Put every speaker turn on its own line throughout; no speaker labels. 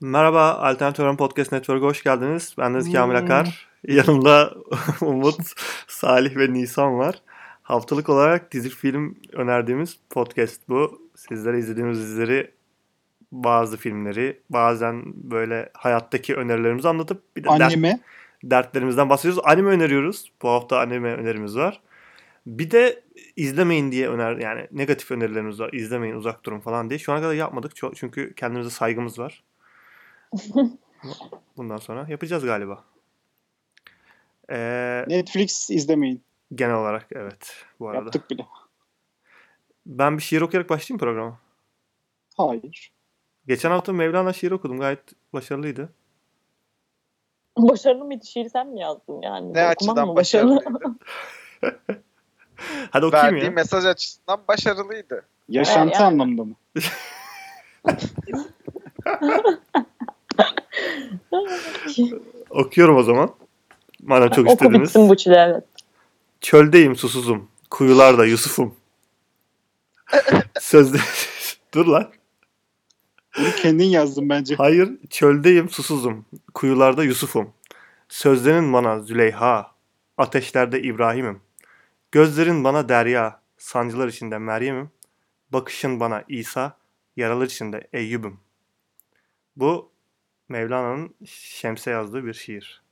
Merhaba Alternatif Öğren Podcast Network'a hoş geldiniz. Ben Deniz Kamil Akar. Yanımda Umut, Salih ve Nisan var. Haftalık olarak dizi film önerdiğimiz podcast bu. Sizlere izlediğimiz dizileri, bazı filmleri, bazen böyle hayattaki önerilerimizi anlatıp bir de dert-
Anneme.
dertlerimizden bahsediyoruz. Anime öneriyoruz. Bu hafta anime önerimiz var. Bir de izlemeyin diye öner yani negatif önerilerimiz var. İzlemeyin, uzak durun falan diye. Şu ana kadar yapmadık. Ço- Çünkü kendimize saygımız var. Bundan sonra yapacağız galiba. Ee,
Netflix izlemeyin.
genel olarak evet bu arada.
Yaptık bile.
Ben bir şiir okuyarak başlayayım programa.
Hayır.
Geçen hafta Mevlana şiir okudum. Gayet başarılıydı.
Başarılı mıydı? Şiiri sen mi yazdın yani?
Ne
Okuman
açıdan
mı başarılı?
başarılıydı?
Hadi okuyayım
Verdiği
ya.
mesaj açısından başarılıydı.
Yaşantı
yani-
anlamında mı?
Okuyorum o zaman. Madem çok
Oku
istediniz.
bitsin bu çile evet.
Çöldeyim susuzum. Kuyularda Yusuf'um. Sözde... Dur lan.
Bunu kendin yazdın bence.
Hayır, çöldeyim susuzum. Kuyularda Yusuf'um. Sözlerin bana Züleyha. Ateşlerde İbrahim'im. Gözlerin bana Derya. Sancılar içinde Meryem'im. Bakışın bana İsa. Yaralar içinde Eyyub'um. Bu Mevlana'nın Şems'e yazdığı bir şiir.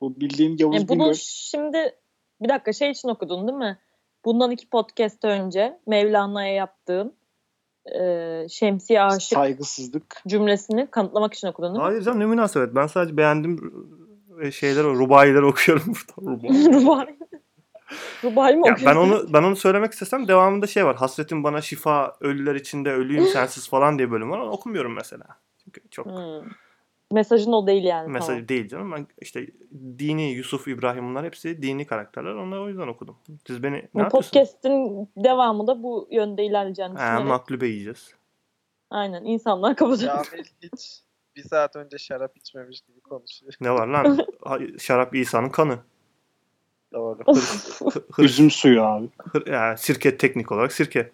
Bu bildiğin Yavuz
E, bunu
Bingöl.
şimdi bir dakika şey için okudun değil mi? Bundan iki podcast önce Mevlana'ya yaptığın e, Şemsiye Aşık
Saygısızlık.
cümlesini kanıtlamak için okudun değil mi?
Hayır canım ne münasebet. Ben sadece beğendiğim e, şeyler, rubayileri okuyorum burada. Rubai.
Rubai. Rubai mi
Ya ben
okuyorsun?
onu ben onu söylemek istesem devamında şey var. Hasretin bana şifa, ölüler içinde ölüyüm sensiz falan diye bölüm var. Onu okumuyorum mesela. Çünkü çok
Hmm. Mesajın o değil yani.
mesaj
Mesaj...
değil canım. Ben işte dini Yusuf, İbrahim bunlar hepsi dini karakterler. Onları o yüzden okudum. Siz beni ne
Tamam. Bu
yapıyorsunuz?
Podcast'in devamı da bu yönde ilerleyeceğini
Ha,
düşünerek.
maklube yiyeceğiz.
Aynen insanlar kapatıyor.
Kamil hiç bir saat önce şarap içmemiş gibi konuşuyor.
Ne var lan? Ha, Şarap İsa'nın kanı.
Doğru.
Hı- hır-
Üzüm suyu abi.
hır- yani sirke teknik olarak sirke.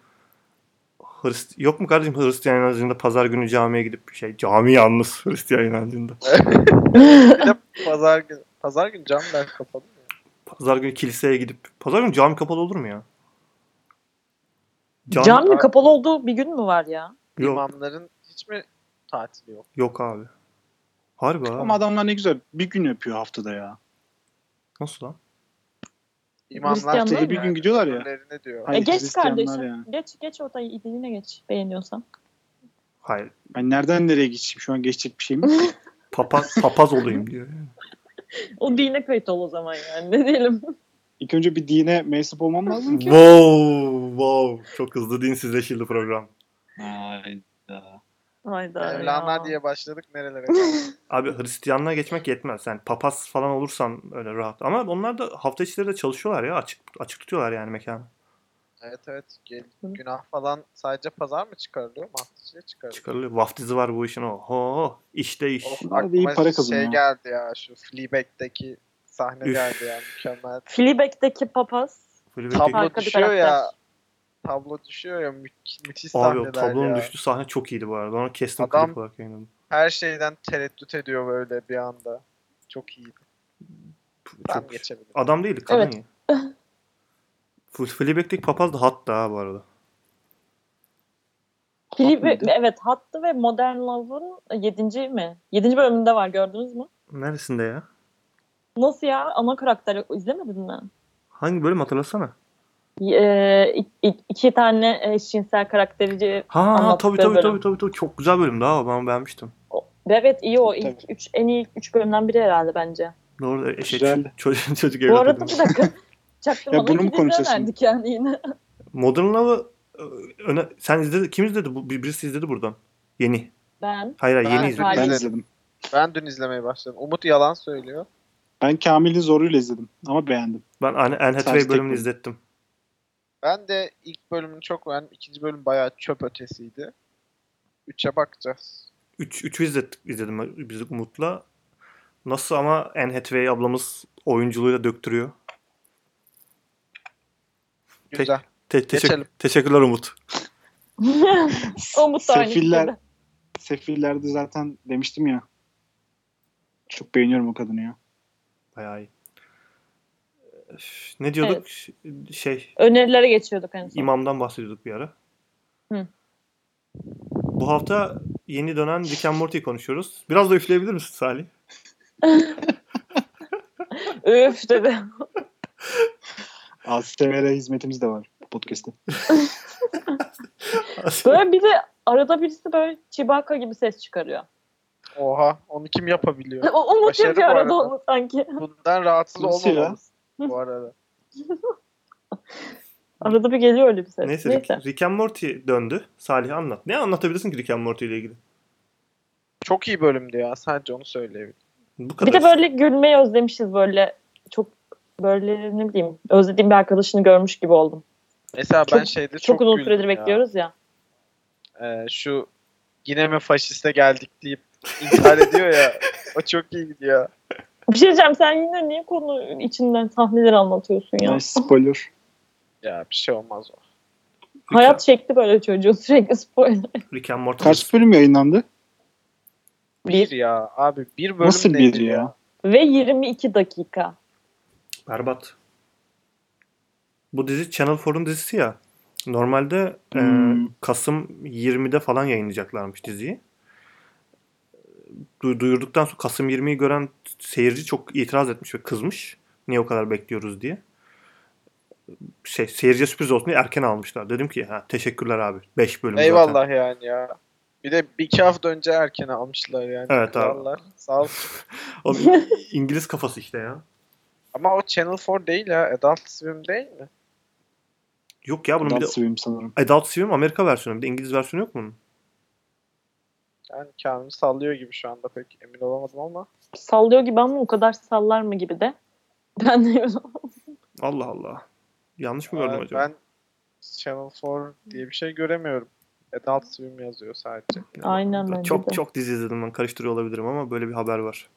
Hırist Yok mu kardeşim Hristiyan inancında pazar günü camiye gidip bir şey cami yalnız Hristiyan inancında.
Bir de pazar gün pazar gün camlar kapalı mı?
Pazar günü kiliseye gidip. Pazar günü cami kapalı olur mu ya? Cami-
Cami kapalı olduğu bir gün mü var ya?
Yok,
İmamların hiç mi tatili yok?
yok abi. Harbi abi.
Ama adamlar ne güzel. Bir gün yapıyor haftada ya.
Nasıl lan?
İmamlar
Hristiyanlar
Haftada
mı?
bir gün gidiyorlar ya.
Ömürlerini diyor.
Hayır,
e geç
Hristiyanlar
kardeşim.
yani.
Geç geç ortaya diline geç beğeniyorsan.
Hayır.
Ben nereden nereye geçeyim? Şu an geçecek bir şey mi?
Papaz, papaz olayım diyor.
O dine kayıt ol o zaman yani ne diyelim.
İlk önce bir dine mensup olmam lazım ki.
wow, wow. Çok hızlı dinsizleşildi program.
Hayda.
Hayda ya.
Mevlana diye başladık nerelere geldik?
Abi Hristiyanlığa geçmek yetmez. Yani papaz falan olursan öyle rahat. Ama onlar da hafta içleri de çalışıyorlar ya. Açık açık tutuyorlar yani mekanı.
evet evet. Gel, günah falan sadece pazar mı çıkarılıyor? Mahdiçiye çıkarılıyor.
Çıkarılıyor. Vaftizi var bu işin. Oho. İşte iş.
Of,
Bunlar da iyi
aklıma
para
şey
kazanıyor.
geldi ya şu Fleabag'deki sahne
Üf.
geldi ya mükemmel.
Fleabag'deki papaz.
Fleabag'deki-
Tablo
Harika bir
düşüyor ya.
karakter.
Tablo düşüyor ya mü- müthiş
Abi
sahneler
o tablonun
ya.
düştüğü sahne çok iyiydi bu arada. Onu kestim
Adam-
klip olarak yayınladım.
Her şeyden tereddüt ediyor böyle bir anda. Çok iyiydi. Ben
Çok-
geçebilirim.
Adam değildi kadın
Evet.
ya. Full Fleabag'deki papaz da hatta ha bu arada.
Fleabag,
mıydı?
evet hattı ve Modern Love'ın 7. mi? 7. bölümünde var gördünüz mü?
Neresinde ya?
Nasıl ya? Ana karakter izlemedin mi?
Hangi bölüm hatırlasana.
Ee, i- i- iki tane eşcinsel karakteri
Ha ha
Anlattığı
tabii tabii,
bölüm.
tabii tabii tabii çok güzel bölüm daha ben beğenmiştim.
Evet iyi o.
Tabii.
İlk üç, en iyi ilk 3 bölümden biri herhalde bence.
Doğru e, şey,
Güzeldi.
çocuk, çocuk
Bu
evlat
arada
edinmiş.
bir dakika. Çaktırmadan
Ya bunu mu
iki dizi
konuşuyorsun?
önerdik yani yine.
Modern Love'ı e, öne, sen izledi kim izledi? Bu, bir- birisi izledi buradan. Yeni.
Ben.
Hayır hayır
Ben-
yeni izledi.
Hayır.
Ben izledim.
Ben dün izlemeye başladım. Umut yalan söylüyor.
Ben Kamil'in zoruyla izledim. Ama beğendim.
Ben Anne Anne Hathaway
tek
bölümünü
bölüm.
izlettim.
Ben de ilk bölümünü çok beğendim. İkinci bölüm bayağı çöp ötesiydi. Üçe bakacağız.
Üç, üçü izlettik, izledim biz Umut'la. Nasıl ama Anne Hathaway ablamız oyunculuğuyla döktürüyor.
Güzel.
Te- teşekkür,
Geçelim.
teşekkürler Umut.
Umut da aynı
Sefiller.
fikirde.
Sefillerde zaten demiştim ya. Çok beğeniyorum o kadını ya.
Bayağı iyi. Öf, Ne diyorduk? Ş- Şey,
Önerilere geçiyorduk en son.
imamdan bahsediyorduk bir ara.
Hı.
Bu hafta yeni dönen Rick and Morty'yi konuşuyoruz. Biraz da üfleyebilir misin Salih?
Öf dedi.
ASMR hizmetimiz de var bu podcast'te.
Böyle bir de arada birisi böyle Chewbacca gibi ses çıkarıyor.
Oha onu kim yapabiliyor?
O Umut
Başarı
yapıyor
bu
arada
arada.
onu sanki.
Bundan rahatsız
Nasıl ya?
olmamalıyız bu arada.
Arada bir geliyor öyle bir ses.
Neyse,
Neyse.
Rick, Rick and Morty döndü. Salih anlat. Ne anlatabilirsin ki Rick and Morty ile ilgili?
Çok iyi bölümdü ya sadece onu söyleyebilirim.
Bu
Bir
kadar.
de böyle gülmeyi özlemişiz böyle. Çok böyle ne bileyim özlediğim bir arkadaşını görmüş gibi oldum.
Mesela ben
Çok-
şeyde çok,
Çok, uzun
güldüm
süredir
ya.
bekliyoruz ya.
Ee, şu yine mi faşiste geldik deyip intihar ediyor ya. O çok iyi gidiyor.
Bir şey diyeceğim sen yine niye konu içinden sahneleri anlatıyorsun ya?
Ay, spoiler.
Ya bir şey olmaz o.
Rick-
Hayat çekti böyle çocuğu sürekli spoiler.
Rick and Morty.
Kaç bölüm yayınlandı?
Bir ya abi bir bölüm
Nasıl
nedir
bir ya?
Ve 22 dakika.
Berbat. Bu dizi Channel 4'un dizisi ya. Normalde e,
Hmm.
Kasım 20'de falan yayınlayacaklarmış diziyi. Du- duyurduktan sonra Kasım 20'yi gören seyirci çok itiraz etmiş ve kızmış. Niye o kadar bekliyoruz diye. Şey, seyirciye sürpriz olsun diye erken almışlar. Dedim ki ha, teşekkürler abi. 5 bölüm
Eyvallah
zaten.
yani ya. Bir de bir iki hafta önce erken almışlar yani.
Evet abi.
Krallar. Sağ olsun.
Oğlum, İngiliz kafası işte ya.
Ama o Channel 4 değil ya. Adult Swim değil mi?
Yok ya bunun bir
Adult
de
Swim sanırım.
Adult Swim Amerika versiyonu. Bir de İngiliz versiyonu yok mu bunun?
Yani Kamil sallıyor gibi şu anda pek emin olamadım ama.
Sallıyor gibi ama o kadar sallar mı gibi de. Ben de
Allah Allah. Yanlış mı gördüm
Aa,
acaba?
Ee, ben Channel 4 diye bir şey göremiyorum. Adult Swim yazıyor sadece.
Ya,
Aynen bence
Çok
de.
çok dizi izledim ben. Karıştırıyor olabilirim ama böyle bir haber var.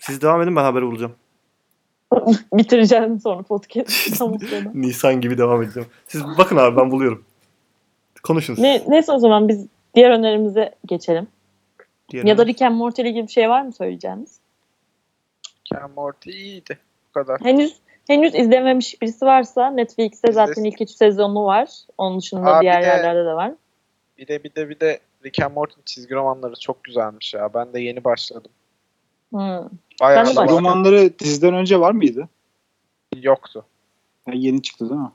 Siz devam edin ben haberi bulacağım.
bitireceğim sonra podcast. Tam o sırada.
Nisan gibi devam edeceğim. Siz bakın abi ben buluyorum. Konuşun siz.
ne, neyse o zaman biz diğer önerimize geçelim.
Diğerine-
Ya da Rick and Morty ile ilgili bir şey var mı söyleyeceğiniz?
Cam Morty iyiydi. Bu kadar.
Henüz henüz izlememiş birisi varsa Netflix'te zaten
İzlesin.
ilk üç sezonu var. Onun dışında
Aa, bir
diğer
de-
yerlerde de var.
Bir de bir de bir de Rick and Morty çizgi romanları çok güzelmiş ya. Ben de yeni başladım.
Hmm.
Bayağı
Ben de başladım.
da var-
Romanları diziden önce var mıydı?
yoktu.
Yani yeni çıktı değil mi?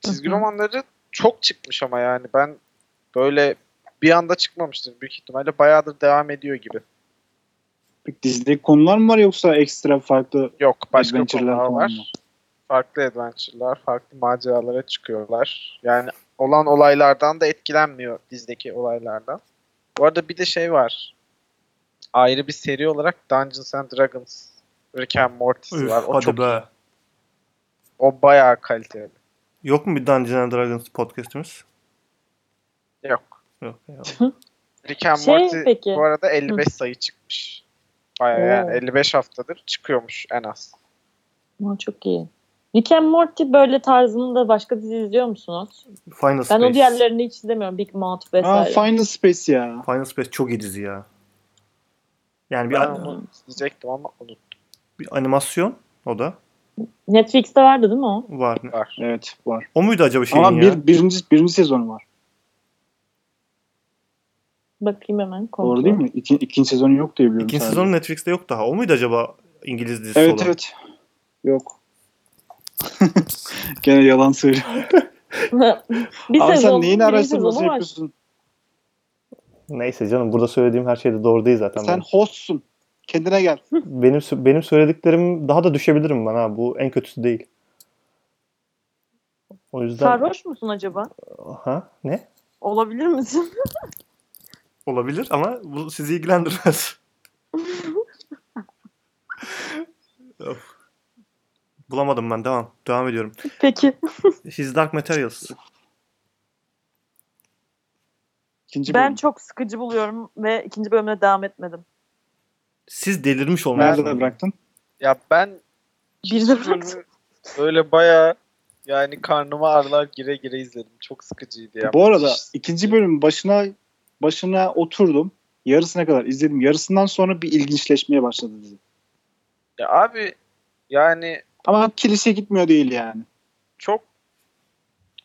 Çizgi
Hı hı.
romanları çok çıkmış ama yani ben böyle bir anda çıkmamıştır büyük ihtimalle. Bayağıdır devam ediyor gibi.
Peki dizideki konular mı var yoksa ekstra farklı?
Yok başka
Adventure'lar
konular
falan
var.
mı?
Farklı adventure'lar, farklı maceralara çıkıyorlar. Yani olan olaylardan da etkilenmiyor dizdeki olaylardan. Bu arada bir de şey var. Ayrı bir seri olarak Dungeons and Dragons Rick and Morty'si
Üf,
var. O,
hadi
çok,
be.
o bayağı kaliteli.
Yok mu bir Dungeons and Dragons podcastimiz?
Yok.
Yok. eyvallah.
Rick and
Şey
Morty
peki.
bu arada 55 sayı çıkmış. Bayağı yani
Oo.
55 haftadır çıkıyormuş en az.
Aa, çok iyi. Rick and Morty böyle tarzında başka dizi izliyor musunuz?
Final
Ben
Space.
o diğerlerini hiç izlemiyorum. Big Mouth
Aa,
vesaire.
Final Space ya.
Final Space çok iyi dizi ya. Yani bir,
Ben
an-
onu izleyecektim ama unuttum.
bir animasyon o da
Netflix'te vardı değil mi o?
var.
Var.
Evet var.
O muydu acaba şeyin
Ama
Şey ya?
bir, birinci, birinci sezonu var.
Bakayım hemen. kontrol.
Doğru değil mi? İki, ikinci sezonu yok diye biliyorum.
İkinci
sadece.
sezonu Netflix'te yok daha. O muydu acaba İngiliz dizisi
Evet
olan?
evet. Yok. Gene yalan söylüyor.
bir
Abi sen
sezon,
neyin
birinci
araştırması
sezonu var.
yapıyorsun?
Neyse canım burada söylediğim her şey de doğru değil zaten.
Sen hostsun. Kendine gel.
Benim sö- benim söylediklerim daha da düşebilirim ben ha. Bu en kötüsü değil. O yüzden
Sarhoş musun acaba?
ha ne?
Olabilir misin?
Olabilir ama bu sizi ilgilendirmez. Of. Bulamadım ben. Devam. Devam ediyorum.
Peki.
His Dark Materials.
İkinci
Ben
bölüm.
çok sıkıcı buluyorum ve ikinci bölümüne devam etmedim.
Siz delirmiş olmalısınız.
Nerede bıraktın?
Ya ben
Bir de bıraktım.
böyle bayağı yani karnıma ağrılar gire gire izledim. Çok sıkıcıydı ya.
Bu arada
Müthiş.
ikinci bölümün başına Başına oturdum. Yarısına kadar izledim. Yarısından sonra bir ilginçleşmeye başladı dizi.
Ya abi yani
Ama kilise gitmiyor değil yani.
çok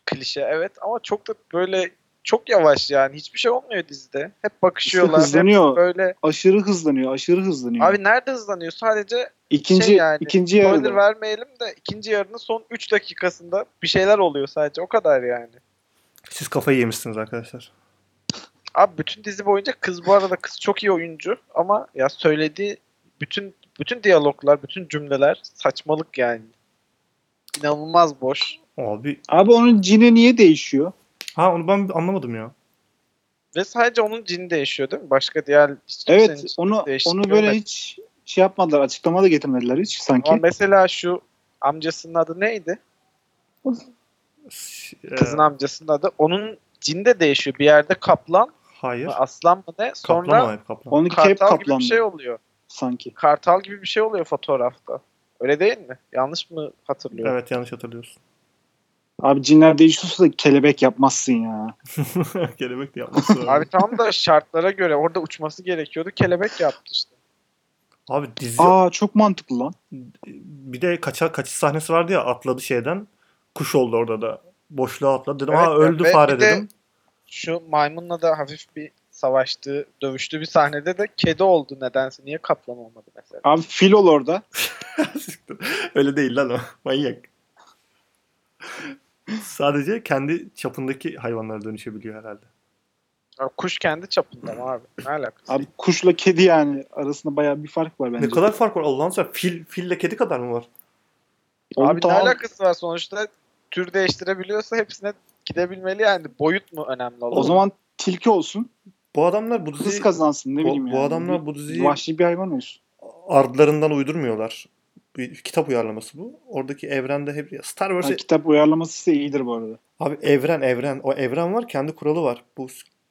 klişe evet ama çok da böyle çok yavaş yani hiçbir şey olmuyor dizide. Hep bakışıyorlar. hep
hızlanıyor.
böyle
Aşırı hızlanıyor, aşırı hızlanıyor.
abi nerede hızlanıyor? Sadece
ikinci
şey yani,
ikinci
spoiler
yarıda.
vermeyelim de ikinci yarının son 3 dakikasında bir şeyler oluyor sadece. O kadar yani.
Siz kafayı yemişsiniz arkadaşlar.
Abi bütün dizi boyunca kız bu arada kız çok iyi oyuncu ama ya söylediği bütün bütün diyaloglar, bütün cümleler saçmalık yani. İnanılmaz boş.
Abi
Abi onun cini niye değişiyor?
ha onu ben anlamadım ya.
Ve sadece onun cini değişiyor değil mi? Başka diğer hiç kimsenin
Evet,
cini
onu
değişikliği
onu böyle
olmadı.
hiç şey yapmadılar, açıklama da getirmediler hiç sanki.
Ama mesela şu amcasının adı neydi?
Ş-
Kızın
e,
amcasının adı. Onun cini de değişiyor. Bir yerde kaplan,
hayır.
mı, aslan mı ne? Sonra
Kaplan hayır kaplan.
Onunki hep
kartal gibi
kaplandı
bir şey oluyor.
sanki.
Kartal gibi bir şey oluyor fotoğrafta. Öyle değil mi? Yanlış mı hatırlıyorum?
Evet yanlış hatırlıyorsun.
Abi cinler değişiyorsa da kelebek yapmazsın ya.
Kelebek de yapması lazım.
Abi
Abi,
tam da şartlara göre orada uçması gerekiyordu. Kelebek yaptı işte.
dizi
Aa çok mantıklı lan.
bir de kaça kaçış sahnesi vardı ya atladı şeyden. Kuş oldu orada da. Boşluğa atladı. Dedim
Evet,
ha öldü
ve
fare
bir de-
dedim.
Şu maymunla da hafif bir savaştığı, dövüştüğü bir sahnede de kedi oldu nedense. Niye kaplan olmadı mesela?
Abi fil ol orada.
Siktir. Öyle değil lan o. Manyak. Sadece kendi çapındaki hayvanlara dönüşebiliyor herhalde.
Abi kuş kendi çapında mı abi? Ne alakası?
Abi kuşla kedi yani arasında bayağı bir fark var bence.
Ne kadar fark var Allah'ın sen fil fille kedi kadar mı var?
Oğlum
abi
tamam.
ne alakası var sonuçta? Tür değiştirebiliyorsa hepsine gidebilmeli yani. Boyut mu önemli olan?
O zaman tilki olsun.
Bu adamlar bu
Hız
diziyi
kazansın ne
bu-
bileyim
bu
yani.
adamlar bu
Bir-
diziyi-
Vahşi bir hayvan olsun.
ardlarından uydurmuyorlar. Bir kitap uyarlaması bu. Oradaki evrende hep Star Wars
Ha, kitap uyarlaması ise iyidir bu arada.
Abi evren evren. O evren var kendi kuralı var. Bu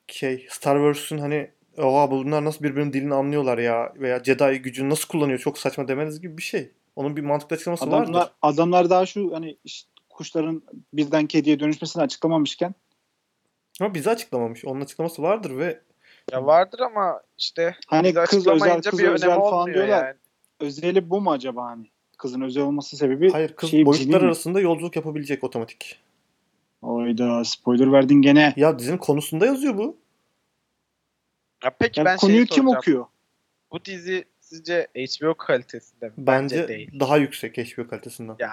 şey Star Wars'un hani oha bunlar nasıl birbirinin dilini anlıyorlar ya veya Jedi gücünü nasıl kullanıyor çok saçma demeniz gibi bir şey. Onun bir mantıklı açıklaması vardır.
Adamlar, adamlar daha şu hani işte kuşların birden kediye dönüşmesini açıklamamışken
Ama bize açıklamamış. Onun açıklaması vardır ve
Ya vardır ama işte
hani
biz
kız özel
açıklamayınca
kız
bir önemi
özel falan
olmuyor
diyorlar.
yani.
Özeli bu mu acaba hani? Kızın özel olması sebebi
hayır kız
şey,
boyutlar
cinin mi?
arasında yolculuk yapabilecek otomatik.
Oyda spoiler verdin gene.
Ya dizinin konusunda yazıyor bu.
Ya peki
Yani
ben şeyi
konuyu kim
soracağım.
okuyor?
Bu dizi sizce HBO kalitesinde mi?
Bence,
değil.
daha yüksek HBO kalitesinden.
Ya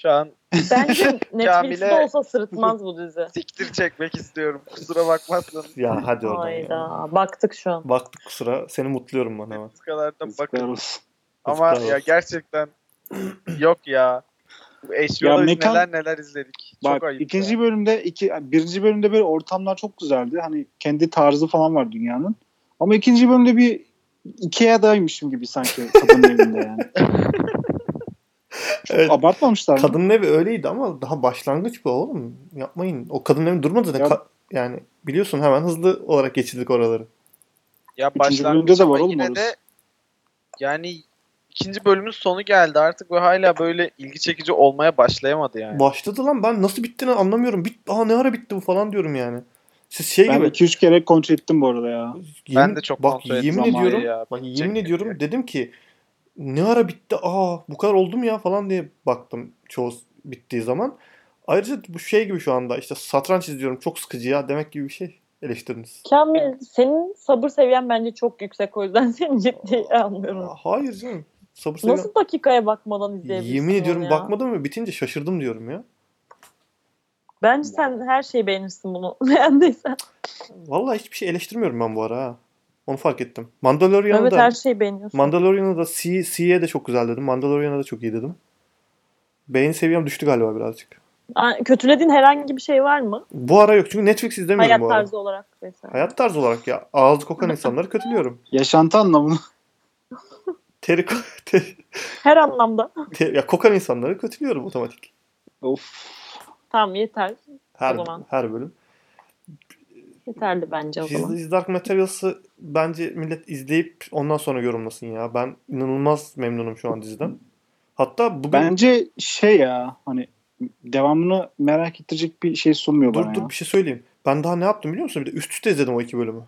şu an
Bence Netflix'te
Kamil'e-
olsa sırıtmaz bu dizi.
siktir çekmek istiyorum. Kusura bakmazsanız.
Ya hadi oradan ya.
Hayda. Baktık şu an.
Baktık kusura. Seni mutluyorum bana hemen.
Sıkalardan
Yazıklar
bakın.
olsun.
Ama
yazıklar
ya
olsun.
gerçekten yok ya. Bu
Ya
HBO'da biz
mekan-
neler neler izledik.
Bak
Çok ayıp.
ikinci
ya.
bölümde iki birinci bölümde böyle ortamlar çok güzeldi. Hani kendi tarzı falan var dünyanın. Ama ikinci bölümde bir Ikea'daymışım gibi sanki kadın evinde yani.
Evet.
Abartmamışlar mı?
Kadın evi öyleydi ama daha başlangıç bu oğlum. Yapmayın. O kadın evi durmadı zaten.
Ya-
Ka- yani biliyorsun hemen hızlı olarak geçirdik oraları.
Ya
Üçüncü
başlangıç
bölümde de var
ama
oğlum
yine
orası.
de yani ikinci bölümün sonu geldi artık ve hala böyle ilgi çekici olmaya başlayamadı yani.
Başladı lan ben nasıl bittiğini anlamıyorum. Bit Aa ne ara bitti bu falan diyorum yani. Siz şey
Ben
gibi.
2-3 kere kontrol ettim bu arada ya.
yemin-
Ben de çok
bak
kontrol ettim
yemin
ama
ediyorum.
ya,
bak
bitecek
yemin
mi
ediyorum
diye.
dedim ki ne ara bitti? Aa bu kadar oldu mu ya falan diye baktım çoğu s- bittiği zaman. Ayrıca bu şey gibi şu anda işte satranç izliyorum çok sıkıcı ya demek gibi bir şey eleştiriniz.
Kamil senin sabır seviyen bence çok yüksek o yüzden seni ciddiye almıyorum.
Aa, Hayır canım. Sabır seviyem-
Nasıl dakikaya bakmadan izleyebilirsin
Yemin
onu
ediyorum
ya?
bakmadım ve bitince şaşırdım diyorum ya.
Bence sen her şeyi beğenirsin bunu. Beğendiysen.
Vallahi hiçbir şey eleştirmiyorum ben bu ara ha. Onu fark ettim. Mandalorian'ı
evet
da
her şey- şeyi beğeniyorsun.
Mandalorian'ı da C, C'ye de çok güzel dedim. Mandalorian'a da çok iyi dedim. Beğeni seviyem düştü galiba birazcık.
Aa, Kötülediğin herhangi bir şey var mı?
Bu ara yok çünkü Netflix izlemiyorum
Hayat
bu ara.
tarzı olarak mesela.
Hayat tarzı olarak ya ağzı kokan insanları kötülüyorum.
Yaşantı anlamını.
Teri ko- te-
Her anlamda.
te- ya kokan insanları kötülüyorum otomatik.
of.
Tamam yeter.
Her
O zaman.
her bölüm.
Yeterli bence o
His,
zaman.
His Dark Materials'ı bence millet izleyip ondan sonra yorumlasın ya. Ben inanılmaz memnunum şu an diziden. Hatta bugün
Bence şey ya hani devamını merak ettirecek bir şey sunmuyor
dur
bana
dur
ya.
bir şey söyleyeyim. Ben daha ne yaptım biliyor musun? Bir de üst üste izledim o iki bölümü.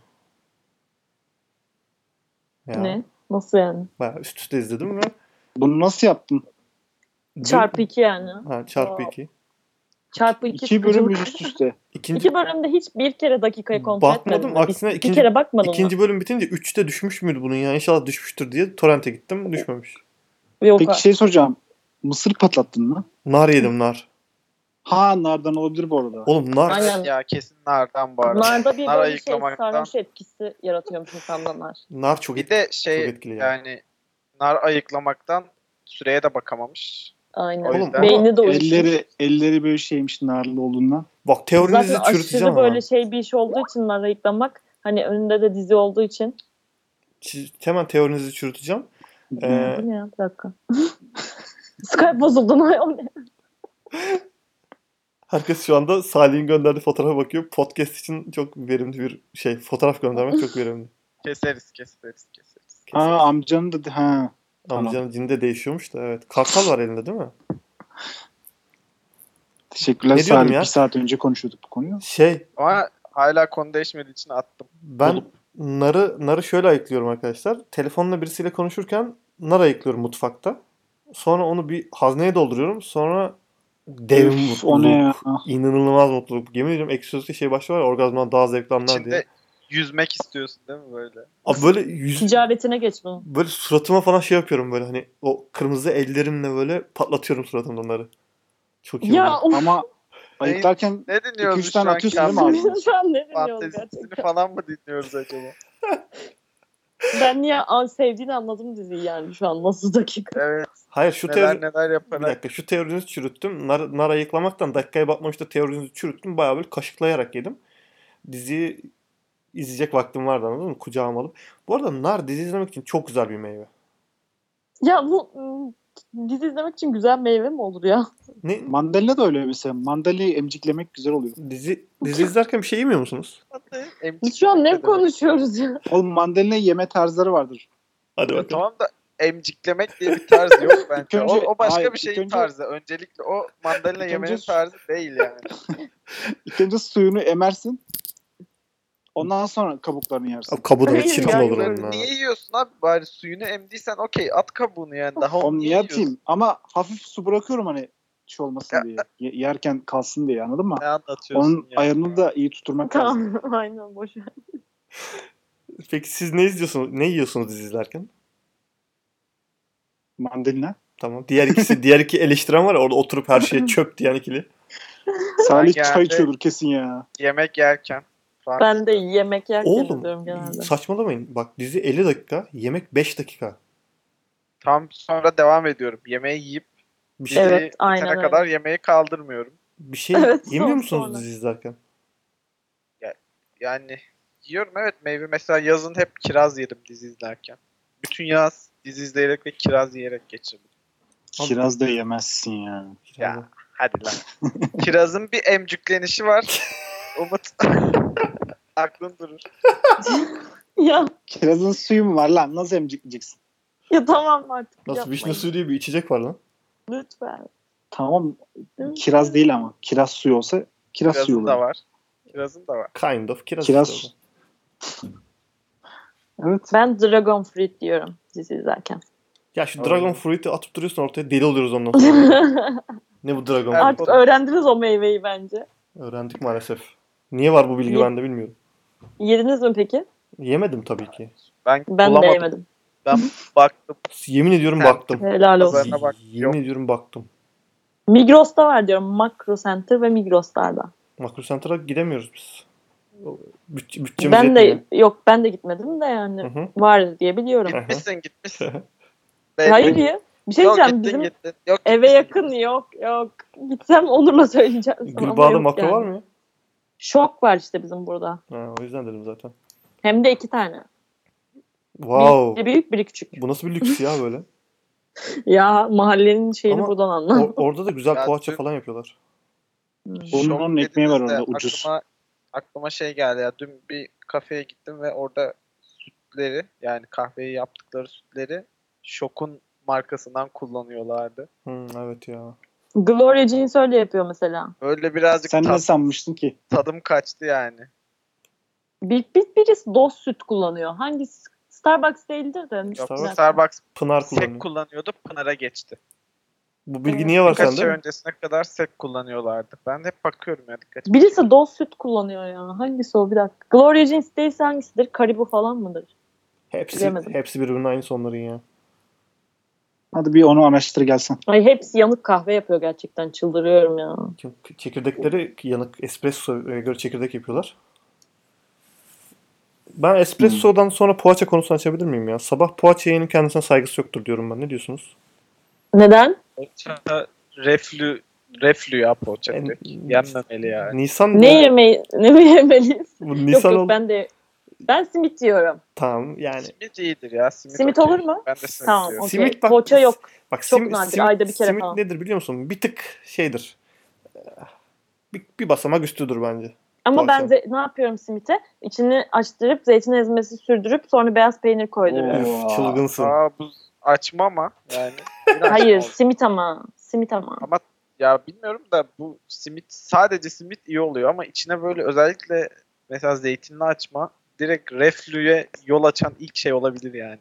Ya,
Ne? Nasıl yani?
Bayağı üst üste izledim ve
Bunu nasıl yaptın?
dün-
Çarpı iki yani.
ha, çarpı
Wow.
iki.
Çarpı iki.
İki bölüm
sıkıcılık.
üst üste.
İkinci,
İki bölümde hiç bir kere dakikayı kontrol
Bakmadım,
etmedim. mi? Bir-
aksine
bir,
ikinci-
kere bakmadın mı?
ikinci bölüm bitince üçte düşmüş müydü bunun ya? İnşallah düşmüştür diye torrente gittim. Düşmemiş.
Yok.
Peki şey soracağım. Mısır patlattın mı?
Nar yedim nar.
Ha nardan olabilir bu arada.
Oğlum nar.
Aynen.
Ya kesin nardan bu arada.
Narda bir
Nar
böyle şey
ayıklamaktan.
sarhoş etkisi yaratıyormuş insanlar. nar.
Nar çok
Bir
et-
de şey
çok etkili ya.
yani nar ayıklamaktan süreye de bakamamış.
Aynen.
O
Oğlum,
yüzden
Beyni de uyuşmuş.
Elleri elleri böyle şeymiş narlı olduğundan.
Bak
Zaten
teorinizi çürüteceğim
aşırı
ama.
böyle şey bir iş olduğu için nar ayıklamak. Hani önünde de dizi olduğu için.
Çi- Hemen teorinizi çürüteceğim.
Hı.
Ee,
Bu ne ya? Bir dakika. Skype bozuldu. ne? O ne?
herkes şu anda Salih'in gönderdiği fotoğrafa bakıyor. Podcast için çok verimli bir şey. Fotoğraf göndermek çok verimli.
Keseriz keseriz keseriz.
Ha amcanın da ha. tamam.
Amcanın cinde değişiyormuş da evet. Kartal var elinde değil mi?
Teşekkürler
Ne diyordum
Salih.
ya?
Bir saat önce konuşuyorduk bu konuyu.
Şey
Ama hala konu değişmediği için attım.
ben
Oğlum.
narı narı şöyle ayıklıyorum arkadaşlar. Telefonla birisiyle konuşurken nar ayıklıyorum mutfakta. Sonra onu bir hazneye dolduruyorum. Sonra dev
Üf, o ne
mutluluk.
ya?
İnanılmaz mutluluk. Yemin ediyorum egzozistik şey başta var ya orgazmdan daha zevkli anlar
İçinde
diye.
yüzmek istiyorsun değil mi böyle?
Abi böyle yüz,
Ticaretine geç bunu.
böyle suratıma falan şey yapıyorum böyle hani o kırmızı ellerimle böyle patlatıyorum suratımdanları. Çok iyi
Ya
ya.
of.
Ama ayıklarken
Ne dinliyoruz
İki, üç tane
şu an?
atıyorsun değil mi
Kemal?
abi?
Sen ne dinliyorsun
Fantezisini
gerçekten?
falan mı dinliyoruz acaba?
Ben niye an sevdiğini anladım diziyi yani şu an nasıl dakika.
Evet
Hayır şu teori...
neler neler
Bir
yaparak.
dakika şu teorinizi çürüttüm. Nar, nar ayıklamaktan dakikaya bakmamışta teorinizi çürüttüm. Bayağı böyle kaşıklayarak yedim. Diziyi izleyecek vaktim vardı anladın mı? Kucağıma alıp. Bu arada nar dizi izlemek için çok güzel bir meyve.
Ya bu ım, dizi izlemek için güzel meyve mi olur ya?
Ne?
Mandalina da öyle mesela. Mandalini emciklemek güzel oluyor.
Dizi, dizi izlerken bir şey yemiyor musunuz?
Emcik
Şu an ne
demek.
konuşuyoruz ya?
Oğlum mandalina yeme tarzları vardır.
Hadi
Ya
bakalım.
tamam da emciklemek diye bir tarz yok bence.
önce-
o, o başka
hayır,
bir
ilk
şeyin
önce-
tarzı. Öncelikle o mandalina
İlk
yemenin
önce-
tarzı değil yani.
İlk önce suyunu emersin. Ondan sonra kabuklarını yersin.
Abi kabuğu da bir
Hayır
çirkin
ya,
olur
bunları
onun ha.
Niye yiyorsun abi? Bari suyunu emdiysen okey at kabuğunu yani. Daha onu
Onu
niye
niye
yiyorsun?
atayım? Ama hafif su bırakıyorum hani şey olmasın diye. Ye- Yerken kalsın diye anladın mı?
Ne anlatıyorsun
Onun
ya?
ayarını da iyi tutturmak lazım.
Tamam aynen boş ver.
Peki siz ne izliyorsunuz? Ne yiyorsunuz dizi izlerken?
Mandalina.
Tamam. Diğer ikisi, diğer iki eleştiren var ya orada oturup her şeye çöp diyen ikili.
Salih
Ben
çay
geldi.
içiyordur kesin ya.
Yemek yerken. falan.
Ben de yemek yerken
Oğlum
izliyorum genelde.
saçmalamayın. Bak dizi 50 dakika, yemek 5 dakika.
Tam sonra devam ediyorum. Yemeği yiyip
Bir şey,
diziyi
Evet, aynen
bitene
öyle.
kadar yemeği kaldırmıyorum.
bir şey
Evet,
yemiyor
son-
musunuz
sonra.
dizi izlerken?
Yani yiyorum evet meyve. Mesela yazın hep kiraz yedim dizi izlerken. Bütün yaz dizi izleyerek ve kiraz yiyerek geçirdim.
Abi-
Kiraz da yemezsin ya.
Ya. Hadi lan. Kirazın bir emcüklenişi var. Umut. Aklın durur.
Ya,
Kirazın suyu mu var lan? Nasıl emcikleyeceksin?
ya tamam artık
Nasıl
yapmayın.
vişne suyu diye bir içecek var lan.
Lütfen.
Tamam.
Lütfen.
Kiraz değil ama. Kiraz suyu olsa kiraz suyu
Kirazın
olur.
da var. Kirazın da var.
Kind of kiraz.
Kiraz-
işte o da.
Evet.
Ben Dragon Fruit diyorum dizi izlerken.
Ya şu
Aynen.
dragon fruit'i atıp duruyorsun ortaya deli oluyoruz ondan sonra. ne bu dragon
Artık-
fruit?
Artık öğrendiniz o meyveyi bence.
Öğrendik maalesef. Niye var bu bilgi
Ye-
ben de bilmiyorum.
Yediniz mi peki?
Yemedim tabii ki.
Ben,
Ben
bulamadım.
de yemedim.
Ben baktım.
Yemin ediyorum
Ha.
baktım.
Helal olsun.
Pazarına bak.
Yemin ediyorum baktım.
Migros'ta var diyorum. Makro Center ve Migros'larda.
Makro Center'a gidemiyoruz biz. O Bütçe, bütçemiz
Ben
yetmiyor.
de yok ben de gitmedim de yani
Hı hı.
var diye biliyorum.
Gitmişsin gitmişsin.
Hayır ya. Bir şey
Yok
diyeceğim.
gittin
Bizim
gittin. Yok,
eve
gitmişsin,
yakın yok yok. Gitsem Onur'la söyleyeceğim. sana ama
Gülbağ'da
yok
makro
yani.
var mı ya?
Şok var işte bizim burada.
Ha, o yüzden dedim zaten.
Hem de iki tane.
Wow.
Biri büyük biri küçük.
Bu nasıl bir lüks ya böyle?
Ya mahallenin şeyini
Ama
buradan anla.
O- orada da güzel
Ya
poğaça
dün-
falan yapıyorlar.
Şok
Onun- onun ekmeği var
dediniz de
orada, ucuz.
Aklıma, aklıma şey geldi ya. Dün bir kafeye gittim ve orada sütleri yani kahveyi yaptıkları sütleri Şok'un markasından kullanıyorlardı.
Hı, Hmm, evet ya.
Gloria Jeans öyle yapıyor mesela.
Öyle birazcık
Sen ne
tad-
sanmıştın ki?
tadım kaçtı yani.
Bir, bir, birisi dost süt kullanıyor. Hangisi? Starbucks değildir de.
Yok,
Starbucks-
Starbucks
Pınar
sek
kullanıyor.
kullanıyordu. Pınar'a geçti.
Bu bilgi niye var
Birkaç
sende?
ay öncesine kadar sek kullanıyorlardı. Ben de hep bakıyorum ya dikkat
Birisi dost süt kullanıyor ya. Hangisi o? Bir dakika. Gloria Jeans değilse hangisidir? Karibu falan mıdır?
şey
Hepsi,
Bilemedim.
hepsi birbirinin aynısı onların ya.
Hadi bir onu araştır gelsen.
Ay hepsi yanık kahve yapıyor gerçekten. Çıldırıyorum ya.
Çünkü Çekirdekleri yanık espressoya göre çekirdek yapıyorlar. Ben espressodan sonra poğaça konusunu açabilir miyim ya? Sabah poğaça yiyenin kendisine saygısı yoktur diyorum ben. Ne diyorsunuz?
Neden?
Poğaça reflü reflü ya poğaça.
En-
direkt. Yenmemeli yani.
Nisan
Ne yemeği ne mi yemeliyiz?
Bu Nisan
yok yok
ol-
ben de ben simit yiyorum.
Tamam yani.
Simit iyidir ya. Simit,
Simit
okey.
olur mu?
Ben de simit
Tamam.
yiyorum.
okey.
Simit bak-
Poğaça yok.
Bak
Çok
simit,
nadir,
simit-
ayda bir kere
simit
falan.
nedir biliyor musun? Bir tık şeydir. Ee, Bir, bir basamak üstüdür bence.
Ama
Poğaça.
ben ze- ne yapıyorum simite? İçini açtırıp zeytin ezmesi sürdürüp sonra beyaz peynir koyduruyorum.
Oo.
Üf, çılgınsın.
Aa bu açma ama yani. Bir açma
Hayır
oldu.
simit ama. Simit ama.
Ama ya bilmiyorum da bu simit sadece simit iyi oluyor ama içine böyle özellikle mesela zeytinli açma direkt reflüye yol açan ilk şey olabilir yani.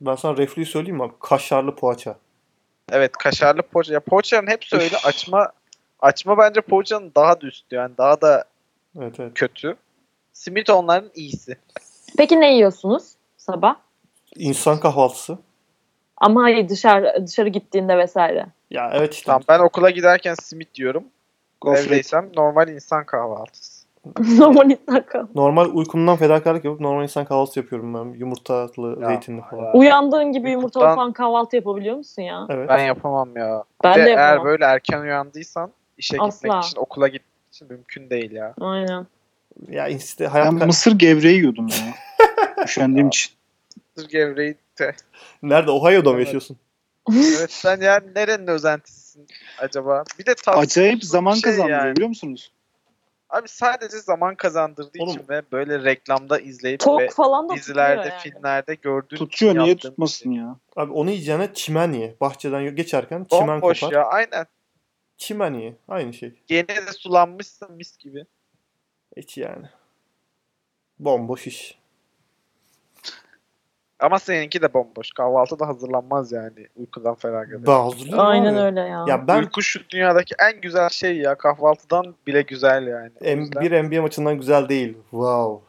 Ben sana reflüyü söyleyeyim mi? abi? Kaşarlı poğaça.
Evet kaşarlı poğaça. Ya poğaçanın hepsi öyle açma açma bence poğaçanın daha da üstü yani daha da
Evet evet.
kötü. Simit onların iyisi.
Peki ne yiyorsunuz sabah?
İnsan kahvaltısı.
Ama hayır dışarı dışarı gittiğinde vesaire.
Ya evet işte.
Tamam ben okula giderken simit diyorum.
Gofret.
Evdeysem normal insan kahvaltısı.
Normal insan kahvaltı.
Normal uykumdan fedakarlık yapıp normal insan kahvaltısı yapıyorum ben. Yumurtalı,
Ya,
zeytinli falan.
ya.
Uyandığın gibi yumurtalı
Ben-
falan kahvaltı yapabiliyor musun ya?
Evet.
Ben yapamam ya. Bir
Ben
de
de
eğer
yapamam.
böyle erken uyandıysan işe
Asla.
gitmek için okula gitmek için mümkün değil ya.
Aynen.
Ya işte hayat
Ben
ka-
mısır gevreği yiyordum ya. Üşendiğim için.
Mısır gevreği de.
nerede Ohio'da mı
Evet.
yaşıyorsun?
Evet sen yani nerenin özentisisin acaba? Bir de tatlı
Acayip
bir
zaman
şey
kazandırıyor
yani.
biliyor musunuz?
Abi sadece zaman kazandırdığı için
Oğlum.
ve böyle reklamda izleyip ve
Tok falan da
dizilerde,
tutmuyor yani.
filmlerde gördüğün
Tutuyor
için
niye
yaptığın
tutmasın ya?
Abi onu yiyeceğine çimen ye. Bahçeden geçerken
şey.
çimen
Bomboş
kopar.
ya aynen.
Çimen ye. Aynı şey.
Gene de sulanmışsın mis gibi.
Hiç yani. Bomboş iş.
Ama seninki de bomboş. Kahvaltı da hazırlanmaz yani uykudan feragat.
Ben hazırlıyorum
Aynen
abi.
öyle ya.
Ya ben
Uyku şu dünyadaki en güzel şey ya. Kahvaltıdan bile güzel yani. O
M-
yüzden-
bir NBA maçından güzel değil. Wow.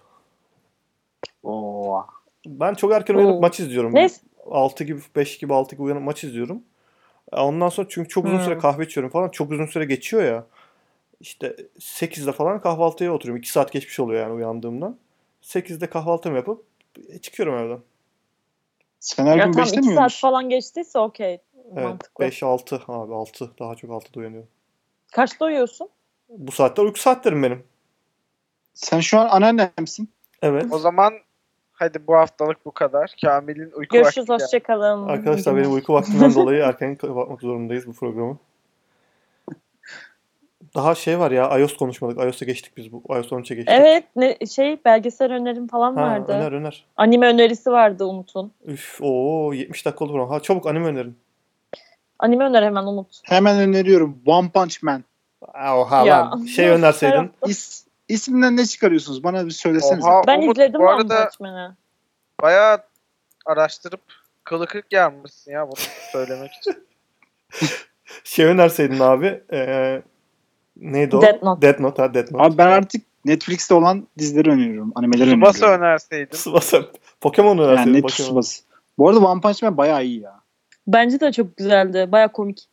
Oo.
Ben çok erken uyanıp
Oo.
maç izliyorum.
Neyse.
6 gibi 5 gibi 6 gibi uyanıp maç izliyorum. E, Ondan sonra çünkü çok uzun
Hmm.
süre kahve içiyorum falan. Çok uzun süre geçiyor ya. İşte 8'de falan kahvaltıya oturuyorum. 2 saat geçmiş oluyor yani uyandığımdan. 8'de kahvaltımı yapıp e, çıkıyorum evden.
Sen her
ya
gün
tam 2
beslemiyor
saat
musun?
falan geçtiyse okey.
Evet,
Mantıklı.
5-6 abi 6 daha çok 6'da uyanıyorum.
Kaçta uyuyorsun?
Bu saatler uyku saatlerim benim.
Sen şu an anneannemsin.
Evet.
O zaman hadi bu haftalık bu kadar. Kamil'in uyku
Görüşürüz
vakti geldi.
hoşçakalın.
Arkadaşlar benim uyku vaktimden dolayı erken kapatmak zorundayız bu programı. Daha şey var ya iOS konuşmadık. iOS'a geçtik biz bu. iOS 13'e geçtik.
Evet ne, şey belgesel önerim falan
Ha,
vardı.
öner öner.
Anime önerisi vardı Umut'un.
Üf o 70 dakika olur. Ha çabuk anime önerin.
Anime öner hemen Umut.
Hemen öneriyorum. One Punch Man.
Oha
Ya.
lan. Şey önerseydin.
İs, isminden ne çıkarıyorsunuz? Bana bir söylesenize.
Oha.
Ben
Umut,
izledim
bu
One
arada-
Punch Man'i.
Bayağı araştırıp kılı kırk yarmışsın ya bunu söylemek için.
Şey önerseydin abi. Ee, neydi o?
Death Note.
Death Note ha Death Note.
Abi ben artık Netflix'te olan dizileri öneriyorum. Animeleri öneriyorum.
Tsubasa önerseydin.
Tsubasa. Pokemon önerseydin.
Yani net
Pokemon.
Tsubasa. Bu arada One Punch Man bayağı iyi ya.
Bence de çok güzeldi. Baya komik.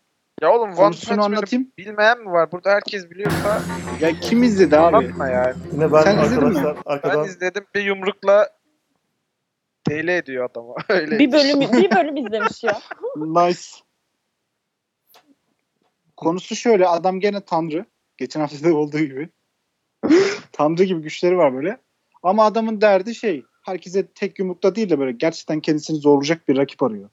Ya oğlum One Punch
Konusunu
Man'i
anlatayım.
bilmeyen mi var? Burada herkes biliyorsa
Ya kim izledi abi?
anlatma yani.
Yine ben
Sen izledin
arkadaşlar
Ben
arkadan
izledim bir yumrukla deli ediyor adamı. Öyle. şey.
Bir bölüm bir bölüm izlemiş ya.
Nice. Konusu şöyle. Adam gene tanrı. Geçen hafta da olduğu gibi. tanrı gibi güçleri var böyle. Ama adamın derdi şey. Herkese tek yumrukta değil de böyle gerçekten kendisini zorlayacak bir rakip arıyor.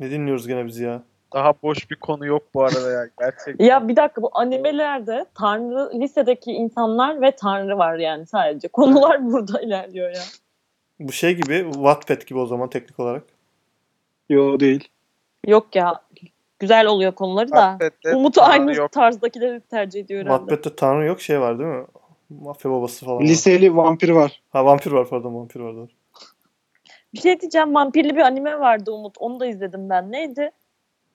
ne dinliyoruz gene biz ya?
Daha boş bir konu yok bu arada ya. Gerçekten.
Ya bir dakika bu animelerde tanrı lisedeki insanlar ve tanrı var yani sadece. Konular burada ilerliyor ya.
Bu şey gibi Wattpad gibi o zaman teknik olarak.
Yo değil.
Yok ya. Güzel oluyor konuları da.
Muhabbette
Umut
tanrı
aynı
yok.
tarzdakileri tercih ediyor herhalde.
Macbeth'te tanrı yok şey var değil mi? Mafya babası falan. var.
Liseli vampir var.
Ha vampir var pardon vampir var. doğru.
Bir şey diyeceğim vampirli bir anime vardı Umut. Onu da izledim ben. Neydi?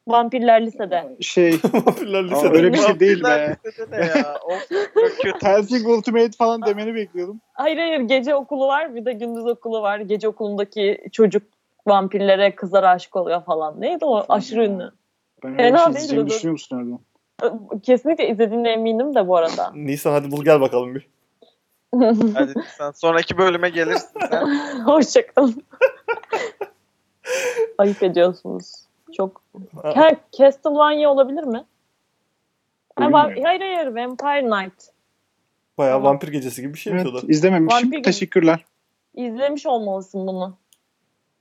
Vampirler lisede.
Şey
Vampirler
Aa,
lisede.
öyle bir şey değil be.
Vampirler lisede ne ya? Of, çok kötü.
Helsing Ultimate falan demeni bekliyordum.
Hayır hayır gece okulu var bir de gündüz okulu var. Gece okulundaki çocuk vampirlere kızlara aşık oluyor falan. Neydi o? Aşırı ünlü.
Ben öyle bir
Fena
şey
değil
izleyeceğimi
Dudu.
düşünüyor musun Erdoğan?
Kesinlikle izlediğine eminim de bu arada.
Nisan hadi bul gel bakalım bir.
Hadi sen sonraki bölüme gelirsin sen.
Hoşçakalın. Ayıp ediyorsunuz. Çok.
Ha,
Ha, Castlevania olabilir mi? Ha,
Oyun
va-
mu?
hayır hayır Vampire Knight.
Bayağı
tamam.
vampir gecesi gibi bir şey
Evet,
o da.
izlememişim.
Vampir gibi.
Teşekkürler.
İzlemiş olmalısın bunu.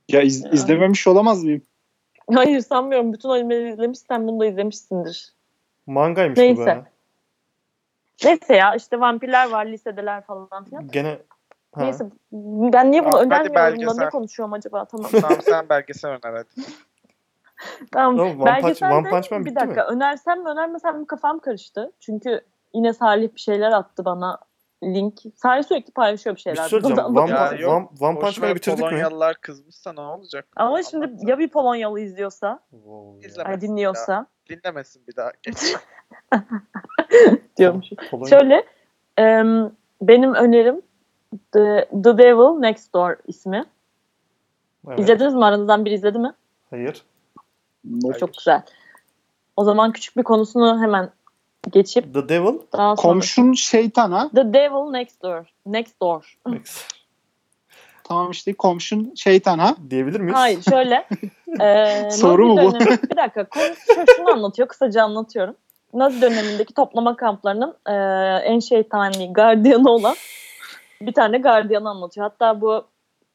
Ya iz-
Ya.
izlememiş olamaz mıyım?
Hayır sanmıyorum. Bütün animeleri izlemişsen bunu da izlemişsindir.
Mangaymış bu
Neyse.
be.
Neyse ya işte vampirler var lisedeler falan filan.
Gene ha.
Neyse şey ben niye bunu
Aa, hadi
önermiyorum da
belgesel.
ne konuşuyorum acaba tamam.
tamam sen belgesel öner hadi.
tamam.
Oğlum, One, Punch,
Belgeselde-
One Punch Man
bir
bitti mi?
dakika önersem mi önermesem mi kafam karıştı. Çünkü yine Salih bir şeyler attı bana link. Salih sürekli paylaşıyor bir
Bir
şeyler.
şey söyleyeceğim.
Buradan
One,
bakın.
Ya
One-
yok,
One- One Punch
Boşuna
Man'ı bitirdik mi?
Polonyalılar kızmışsa ne olacak?
Ama şimdi ya bir Polonyalı izliyorsa,
Wow ya.
İzleme.
ay dinliyorsa
Dinlemesin bir daha. Geç.
diyormuş.
Polonya-
Şöyle em, benim önerim The, The Devil Next Door ismi.
Evet.
İzlediniz mi? Aranızdan biri izledi mi?
Hayır.
Not.
Hayır.
Çok güzel. O zaman küçük bir konusunu hemen geçip
The Devil.
daha sonra.
Komşun şeytan ha.
The Devil Next Door. Next Door.
Tamam işte komşun şeytan ha.
Diyebilir miyiz?
Hayır şöyle. eee,
Soru mu
Nazi
bu?
dönemi- bir dakika. Konusu şu- şunu anlatıyor. Kısaca anlatıyorum. Nazi dönemindeki toplama kamplarının eee, en şeytani gardiyanı olan bir tane gardiyanı anlatıyor. Hatta bu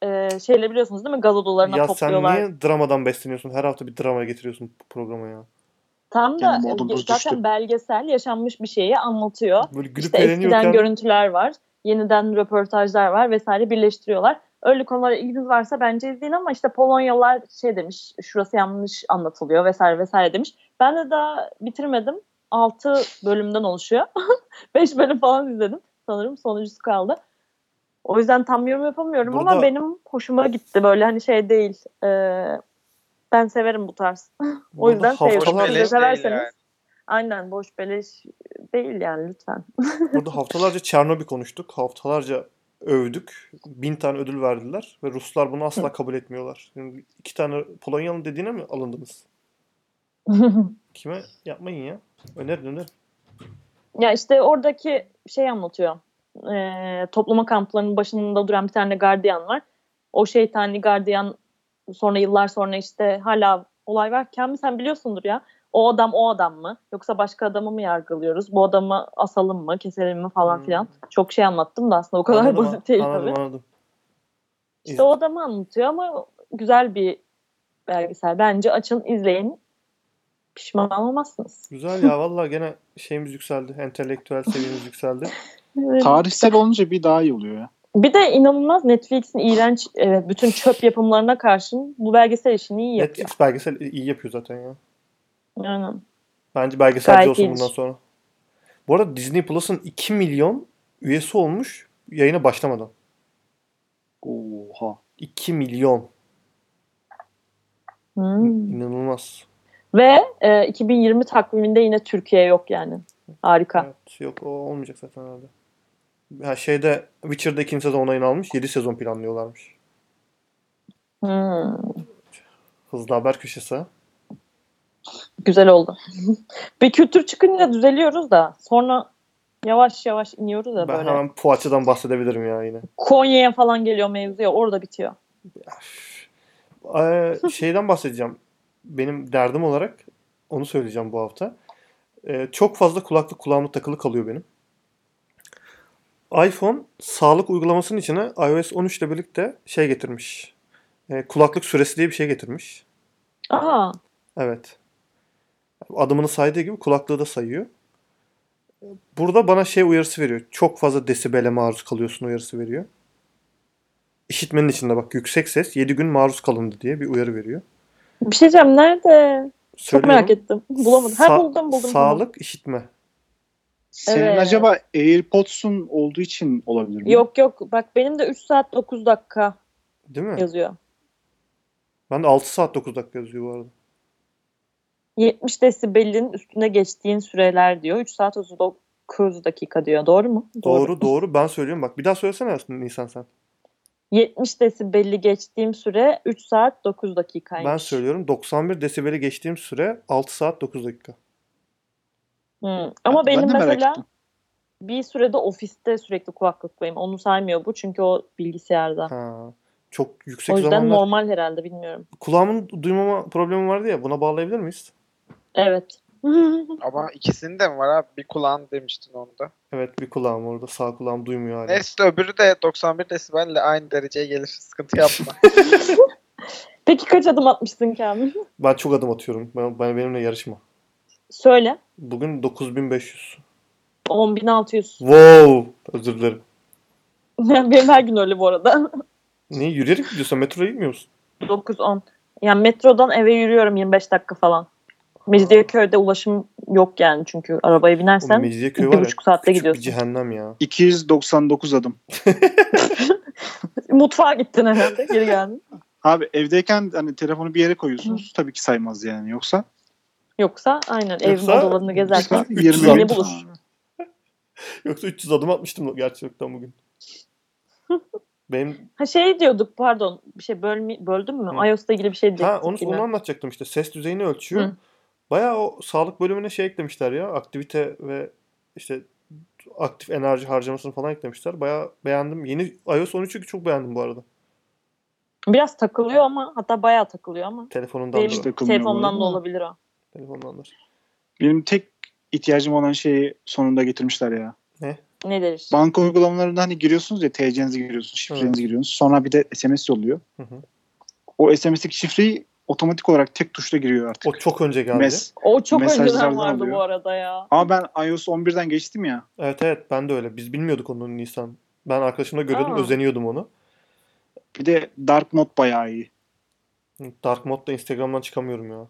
eee şeyle biliyorsunuz değil mi? Gaz odalarına
Ya sen
topluyorlar.
niye dramadan besleniyorsun? Her hafta bir drama getiriyorsun bu programa ya.
Tam da
Benim modum
e,
düştü.
zaten belgesel yaşanmış bir şeyi anlatıyor.
Böyle gülüp
İşte
eğleniyorken
eskiden görüntüler var, yeniden röportajlar var vesaire birleştiriyorlar. Öyle konulara ilginiz varsa bence izleyin ama işte Polonyalılar şey demiş, şurası yanlış anlatılıyor vesaire vesaire demiş. Ben de daha bitirmedim. 6 bölümden oluşuyor. 5 bölüm falan izledim. Sanırım sonuncusu kaldı. O yüzden tam yorum yapamıyorum
Burada-
ama benim hoşuma gitti. Böyle hani şey değil. e, ben severim bu tarz. o
Burada
yüzden
haftalar-
seviyorum. Siz de
Boş beleş değil
severseniz.
yani.
Aynen boş beleş değil yani lütfen.
burada haftalarca Çernobil konuştuk. Haftalarca övdük. Bin tane ödül verdiler ve Ruslar bunu asla kabul etmiyorlar. Yani iki tane Polonyalı dediğine mi alındınız? Kime? Yapmayın ya. Önerin önerin.
Ya işte oradaki şey anlatıyor. Ee, toplama kamplarının başında duran bir tane gardiyan var. O şeytani gardiyan sonra yıllar sonra işte hala olay varken mi sen biliyorsundur ya. O adam o adam mı? Yoksa başka adamı mı yargılıyoruz? Bu adamı asalım mı? Keselim mi falan
Hmm.
filan. Çok şey anlattım da aslında o kadar
Anladım,
basit değil
anladım,
tabii.
Anladım
İşte o adamı anlatıyor ama güzel bir belgesel. Bence açın izleyin. Pişman olmazsınız.
Güzel ya vallahi gene şeyimiz yükseldi. Entelektüel seviyemiz yükseldi.
Evet.
Tarihsel olunca bir daha iyi oluyor ya.
Bir de inanılmaz Netflix'in iğrenç evet, bütün çöp yapımlarına karşın bu belgesel işini iyi yapıyor.
Netflix belgesel iyi yapıyor zaten ya.
Aynen.
Bence belgeselci
Gayet
olsun
iyiymiş.
bundan sonra. Bu arada Disney Plus'ın 2 milyon üyesi olmuş yayına başlamadan.
Oha.
2 milyon.
Hmm.
İnanılmaz.
Ve e, 2020 takviminde yine Türkiye yok yani. Harika.
Evet, yok o olmayacak zaten herhalde. Ha şeyde Witcher'da ikinci sezon onayını almış. 7 sezon planlıyorlarmış.
Hmm.
Hızlı haber köşesi.
Güzel oldu. bir kültür çıkınca düzeliyoruz da sonra yavaş yavaş iniyoruz
Ben
da böyle.
hemen Poğaça'dan bahsedebilirim ya yine.
Konya'ya falan geliyor mevzu ya orada bitiyor.
Ee, şeyden bahsedeceğim. Benim derdim olarak onu söyleyeceğim bu hafta. Ee, çok fazla kulaklık kulağıma takılı kalıyor benim. iPhone sağlık uygulamasının içine iOS 13 ile birlikte şey getirmiş. Ee, kulaklık süresi diye bir şey getirmiş.
Aa,
Evet. Adımını saydığı gibi kulaklığı da sayıyor. Burada bana şey uyarısı veriyor. Çok fazla desibele maruz kalıyorsun uyarısı veriyor. İşitmenin içinde bak yüksek ses 7 gün maruz kalındı diye bir uyarı veriyor.
bir şey diyeceğim nerede? Çok merak ettim. Bulamadım. Ha
Sa-
buldum buldum. buldum.
Sağlık işitme.
Senin
Evet.
acaba AirPods'un olduğu için olabilir mi?
Yok yok bak benim de 3 saat 9 dakika
Değil mi?
yazıyor.
Ben de 6 saat 9 dakika yazıyor bu arada.
70 desibelin üstüne geçtiğin süreler diyor. 3 saat 39 dakika diyor. Doğru mu?
Doğru doğru ben söylüyorum bak. Bir daha söylesene aslında Nisan sen.
70 desibeli geçtiğim süre 3 saat 9 dakikaymış.
Ben söylüyorum 91 desibeli geçtiğim süre 6 saat 9 dakika.
Hı. Ama
Ben de
benim
merak
mesela
ettim.
bir sürede ofiste sürekli kulaklıklıyım. Onu saymıyor bu çünkü o bilgisayarda.
Ha. Çok yüksek
Ah. O yüzden
zamanlar.
normal herhalde bilmiyorum.
Kulağımın duymama problemi vardı ya buna bağlayabilir miyiz?
Evet.
Ama ikisinin de mi var abi? Bir kulağın demiştin onda.
Evet bir kulağım orada sağ kulağım duymuyor hala.
Neyse öbürü de 91 desibelle aynı dereceye gelir. Sıkıntı yapma.
Peki kaç adım atmışsın Kamil?
Ben çok adım atıyorum. Ben, ben- benimle yarışma.
Söyle.
Bugün 9500.
10600.
Wow! Özür dilerim.
benim her gün öyle bu arada.
Niye yürüyerek mi gidiyorsun? Metroya gitmiyor musun?
9 10. Yani metrodan eve yürüyorum 25 dakika falan. Mecidiyeköy'de ulaşım yok yani çünkü arabaya
Oğlum
binersen
Mecidiyeköy var ya.
2,5 saatte
Küçük bir
gidiyorsun.
cehennem ya.
299 adım.
Mutfağa gittin herhalde geri geldin.
Abi evdeyken hani telefonu bir yere koyuyorsunuz. Tabii ki saymaz yani. Yoksa
Yoksa aynen evin
Yoksa-
odalarını gezerken
Yoksa-
20
seni
adım.
bulur.
Yoksa 300 adım atmıştım gerçekten bugün. Benim
Ha şey diyorduk pardon bir şey bölme, böldüm mü?
Hı.
iOS'la ilgili bir şey diyorduk
ha onu,
yine.
onu anlatacaktım işte. Ses düzeyini ölçüyor.
Hı.
Bayağı o sağlık bölümüne şey eklemişler ya. Aktivite ve işte aktif enerji harcamasını falan eklemişler. Bayağı beğendim. Yeni iOS 13'ü çok beğendim bu arada.
Biraz takılıyor ama hatta bayağı takılıyor ama.
Telefonundan
Benim
da.
İşte- takılmıyor bu
telefondan
arada
da
ama.
olabilir o.
Telefondandır.
Benim tek ihtiyacım olan şeyi sonunda getirmişler ya.
Ne deriz?
Banka uygulamalarında hani giriyorsunuz ya TC'nizi giriyorsunuz, şifrenizi
Evet.
giriyorsunuz. Sonra bir de SMS yolluyor.
Hı hı.
O SMS'lik şifreyi otomatik olarak tek tuşla giriyor artık.
O çok önce geldi.
Mes.
O çok önceden
mesajlardan
vardı bu
alıyor.
arada ya.
Ama ben iOS 11'den geçtim ya.
Evet evet ben de öyle. Biz bilmiyorduk onu Nisan. Ben arkadaşımla görüyordum
Aa.
özeniyordum onu.
Bir de Dark Mode bayağı iyi.
Dark Mode'da Instagram'dan çıkamıyorum ya.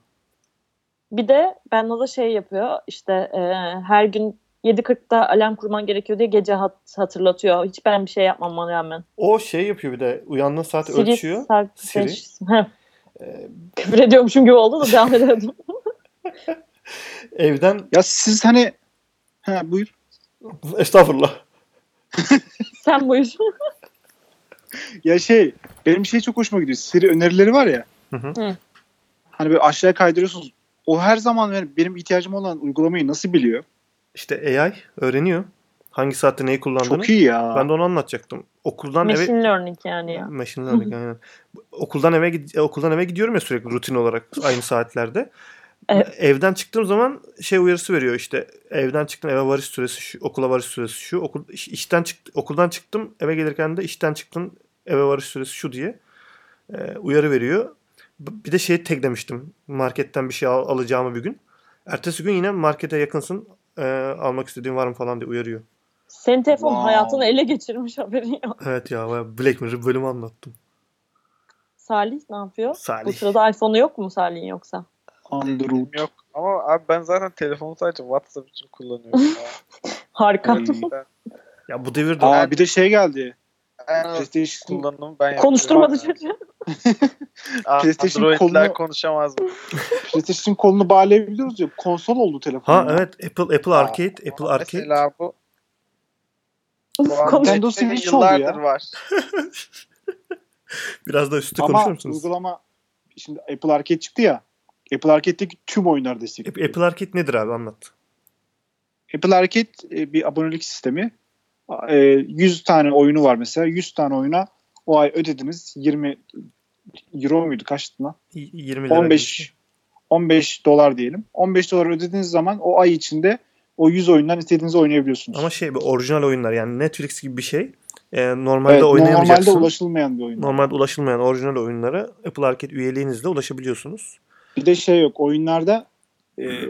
Bir de Benno da şey yapıyor işte e, her gün 7.40'da alarm kurman gerekiyor diye gece hat- hatırlatıyor. Hiç ben bir şey yapmama rağmen.
O şey yapıyor bir de uyandığın saati
Siri
ölçüyor.
sark-
Siri.
seç- Heh,
Ee,
Küfür ediyormuşum gibi oldu da devam ediyordum.
evden
Ya siz hani ha buyur.
estağfurullah.
Sen buyur.
Ya şey benim şey çok hoşuma gidiyor. Siri önerileri var ya.
Hı hı.
Hı.
Hani böyle aşağıya kaydırıyorsunuz. O her zaman benim, benim ihtiyacım olan uygulamayı nasıl biliyor?
İşte AI öğreniyor. Hangi saatte neyi kullandığını.
Çok iyi ya.
Ben de onu anlatacaktım. Okuldan eve
Machine learning yani ya.
Machine learning aynen. Okuldan eve gid- e, okuldan eve gidiyorum ya sürekli rutin olarak aynı saatlerde.
Evet.
Evden çıktığım zaman şey uyarısı veriyor işte evden çıktım eve varış süresi şu, okula varış süresi şu, okul iş- işten çıktı okuldan çıktım eve gelirken de işten çıktım eve varış süresi şu diye e, uyarı veriyor. B- Bir de şey demiştim marketten bir şey al- alacağımı bir gün. Ertesi gün yine markete yakınsın e, almak istediğin var mı falan diye uyarıyor.
Senin telefon
Wow.
hayatını ele geçirmiş haberin yok.
Evet ya bayağı Black Mirror bölümü anlattım.
Salih ne yapıyor? Bu
Salih.
sırada iPhone'u yok mu Salih'in yoksa?
Android.
Yok. Ama abi ben zaten telefonu sadece WhatsApp için kullanıyorum. ya.
Harika.
Gerçekten.
Ya bu devirde
Aa bir de şey geldi.
en az
PlayStation
kullanımı ben
Konuşturmadı
yapıyorum.
çocuğu.
Aa,
PlayStation
Android'ler
kolunu-
konuşamaz mı?
PlayStation kolunu bağlayabiliyoruz ya. Konsol oldu telefon.
Ha
ya.
evet Apple Apple Arcade, Apple
Ama
Arcade.
Mesela bu. bu
Konuş-
Android
Switch
şeyi
oldu ya.
yıllardır var.
Biraz da üstü konuşur
Ama
musunuz?
uygulama şimdi Apple Arcade çıktı ya. Apple Arcade'deki tüm oyunlar
Ap-
destekliyor. Apple,
Apple Arcade nedir abi anlat.
Arcade e, bir abonelik sistemi. A- e, 100 tane oyunu var mesela. 100 tane oyuna o ay ödediniz 20 euro muydu kaçtı lan?
Y- 20 lira.
15 15 dolar diyelim. 15 dolar ödediğiniz zaman o ay içinde o 100 oyundan istediğinizi oynayabiliyorsunuz.
Ama şey bir orijinal oyunlar yani Netflix gibi bir şey. Ee, normalde
Evet, normalde
oynayamayacaksın.
ulaşılmayan bir oyun.
Normalde ulaşılmayan orijinal oyunlara Apple Arcade üyeliğinizle ulaşabiliyorsunuz.
Bir de şey yok. Oyunlarda e,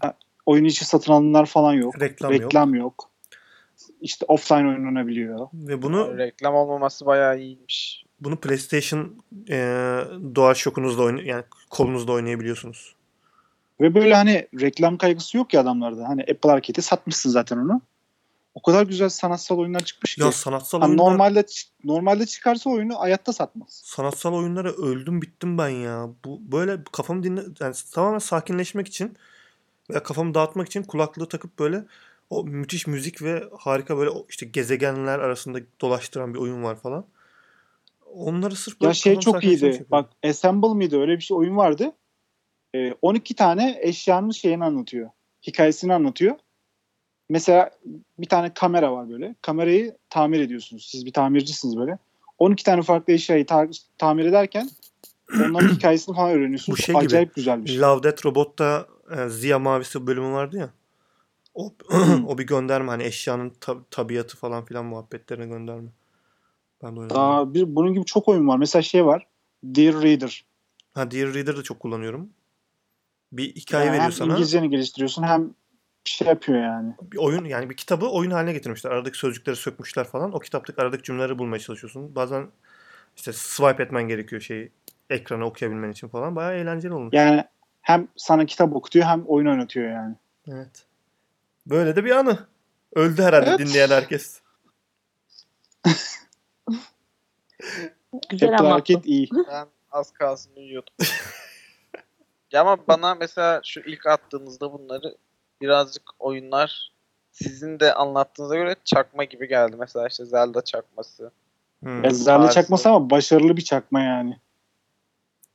a- oyun içi satın alınanlar falan yok.
Reklam, yok.
Reklam yok. İşte offline oynanabiliyor.
Ve bunu
Reklam olmaması bayağı iyiymiş.
bunu PlayStation e, DualShock'unuzla oyn yani kolunuzla oynayabiliyorsunuz.
Ve böyle hani reklam kaygısı yok ya adamlarda. Hani Apple Arcade'i satmışsın zaten onu. O kadar güzel sanatsal oyunlar çıkmış ki.
Ya sanatsal
Hani
oyunlar,
normalde çı- normalde çıkarsa oyunu hayatta satmaz.
sanatsal oyunlara öldüm bittim ben ya. Bu böyle kafamı dinle yani tamamen sakinleşmek için veya kafamı dağıtmak için kulaklığı takıp böyle o müthiş müzik ve harika böyle o işte gezegenler arasında dolaştıran bir oyun var falan. Onları sırf
Ya
böyle
şey
kafamı
çok
sakinleştirmek
iyiydi.
için
Bak Assemble mıydı öyle bir şey oyun vardı. Ee, 12 tane eşyanın şeyini anlatıyor. Hikayesini anlatıyor. Mesela bir tane kamera var böyle. Kamerayı tamir ediyorsunuz. Siz bir tamircisiniz böyle. 12 tane farklı eşyayı ta- tamir ederken onların hikayesini falan öğreniyorsunuz.
Bu şey gibi.
Acayip güzel bir şey.
yapıyorum. Love Death Robot'ta e, Ziya Mavisi bölümü vardı ya. O, o bir gönderme hani eşyanın ta- tabiatı falan filan muhabbetlerine gönderme. Ben de oynadım.
Daha bir, bunun gibi çok oyun var. Mesela şey var. Dear Reader.
Ha Dear Reader'ı da çok kullanıyorum. Bir hikaye
Yani
veriyor
hem
sana.
İngilizceni geliştiriyorsun hem bir şey yapıyor yani.
Bir oyun yani bir kitabı oyun haline getirmişler. Aradaki sözcükleri sökmüşler falan. O kitaptaki aradaki cümleleri bulmaya çalışıyorsun. Bazen işte swipe etmen gerekiyor şeyi ekranı okuyabilmen için falan. Bayağı eğlenceli olmuş.
Yani hem sana kitap okutuyor hem oyun oynatıyor yani.
Evet. Böyle de bir anı. Öldü herhalde
Evet.
dinleyen herkes.
Güzel
Apple
anlattın.
Arcade iyi.
Ben az kalsın uyuyordum. ya ama bana mesela şu ilk attığınızda bunları birazcık oyunlar sizin de anlattığınıza göre çakma gibi geldi. Mesela işte Zelda çakması.
Hmm.
Ya Zerle çakması ama başarılı bir çakma yani.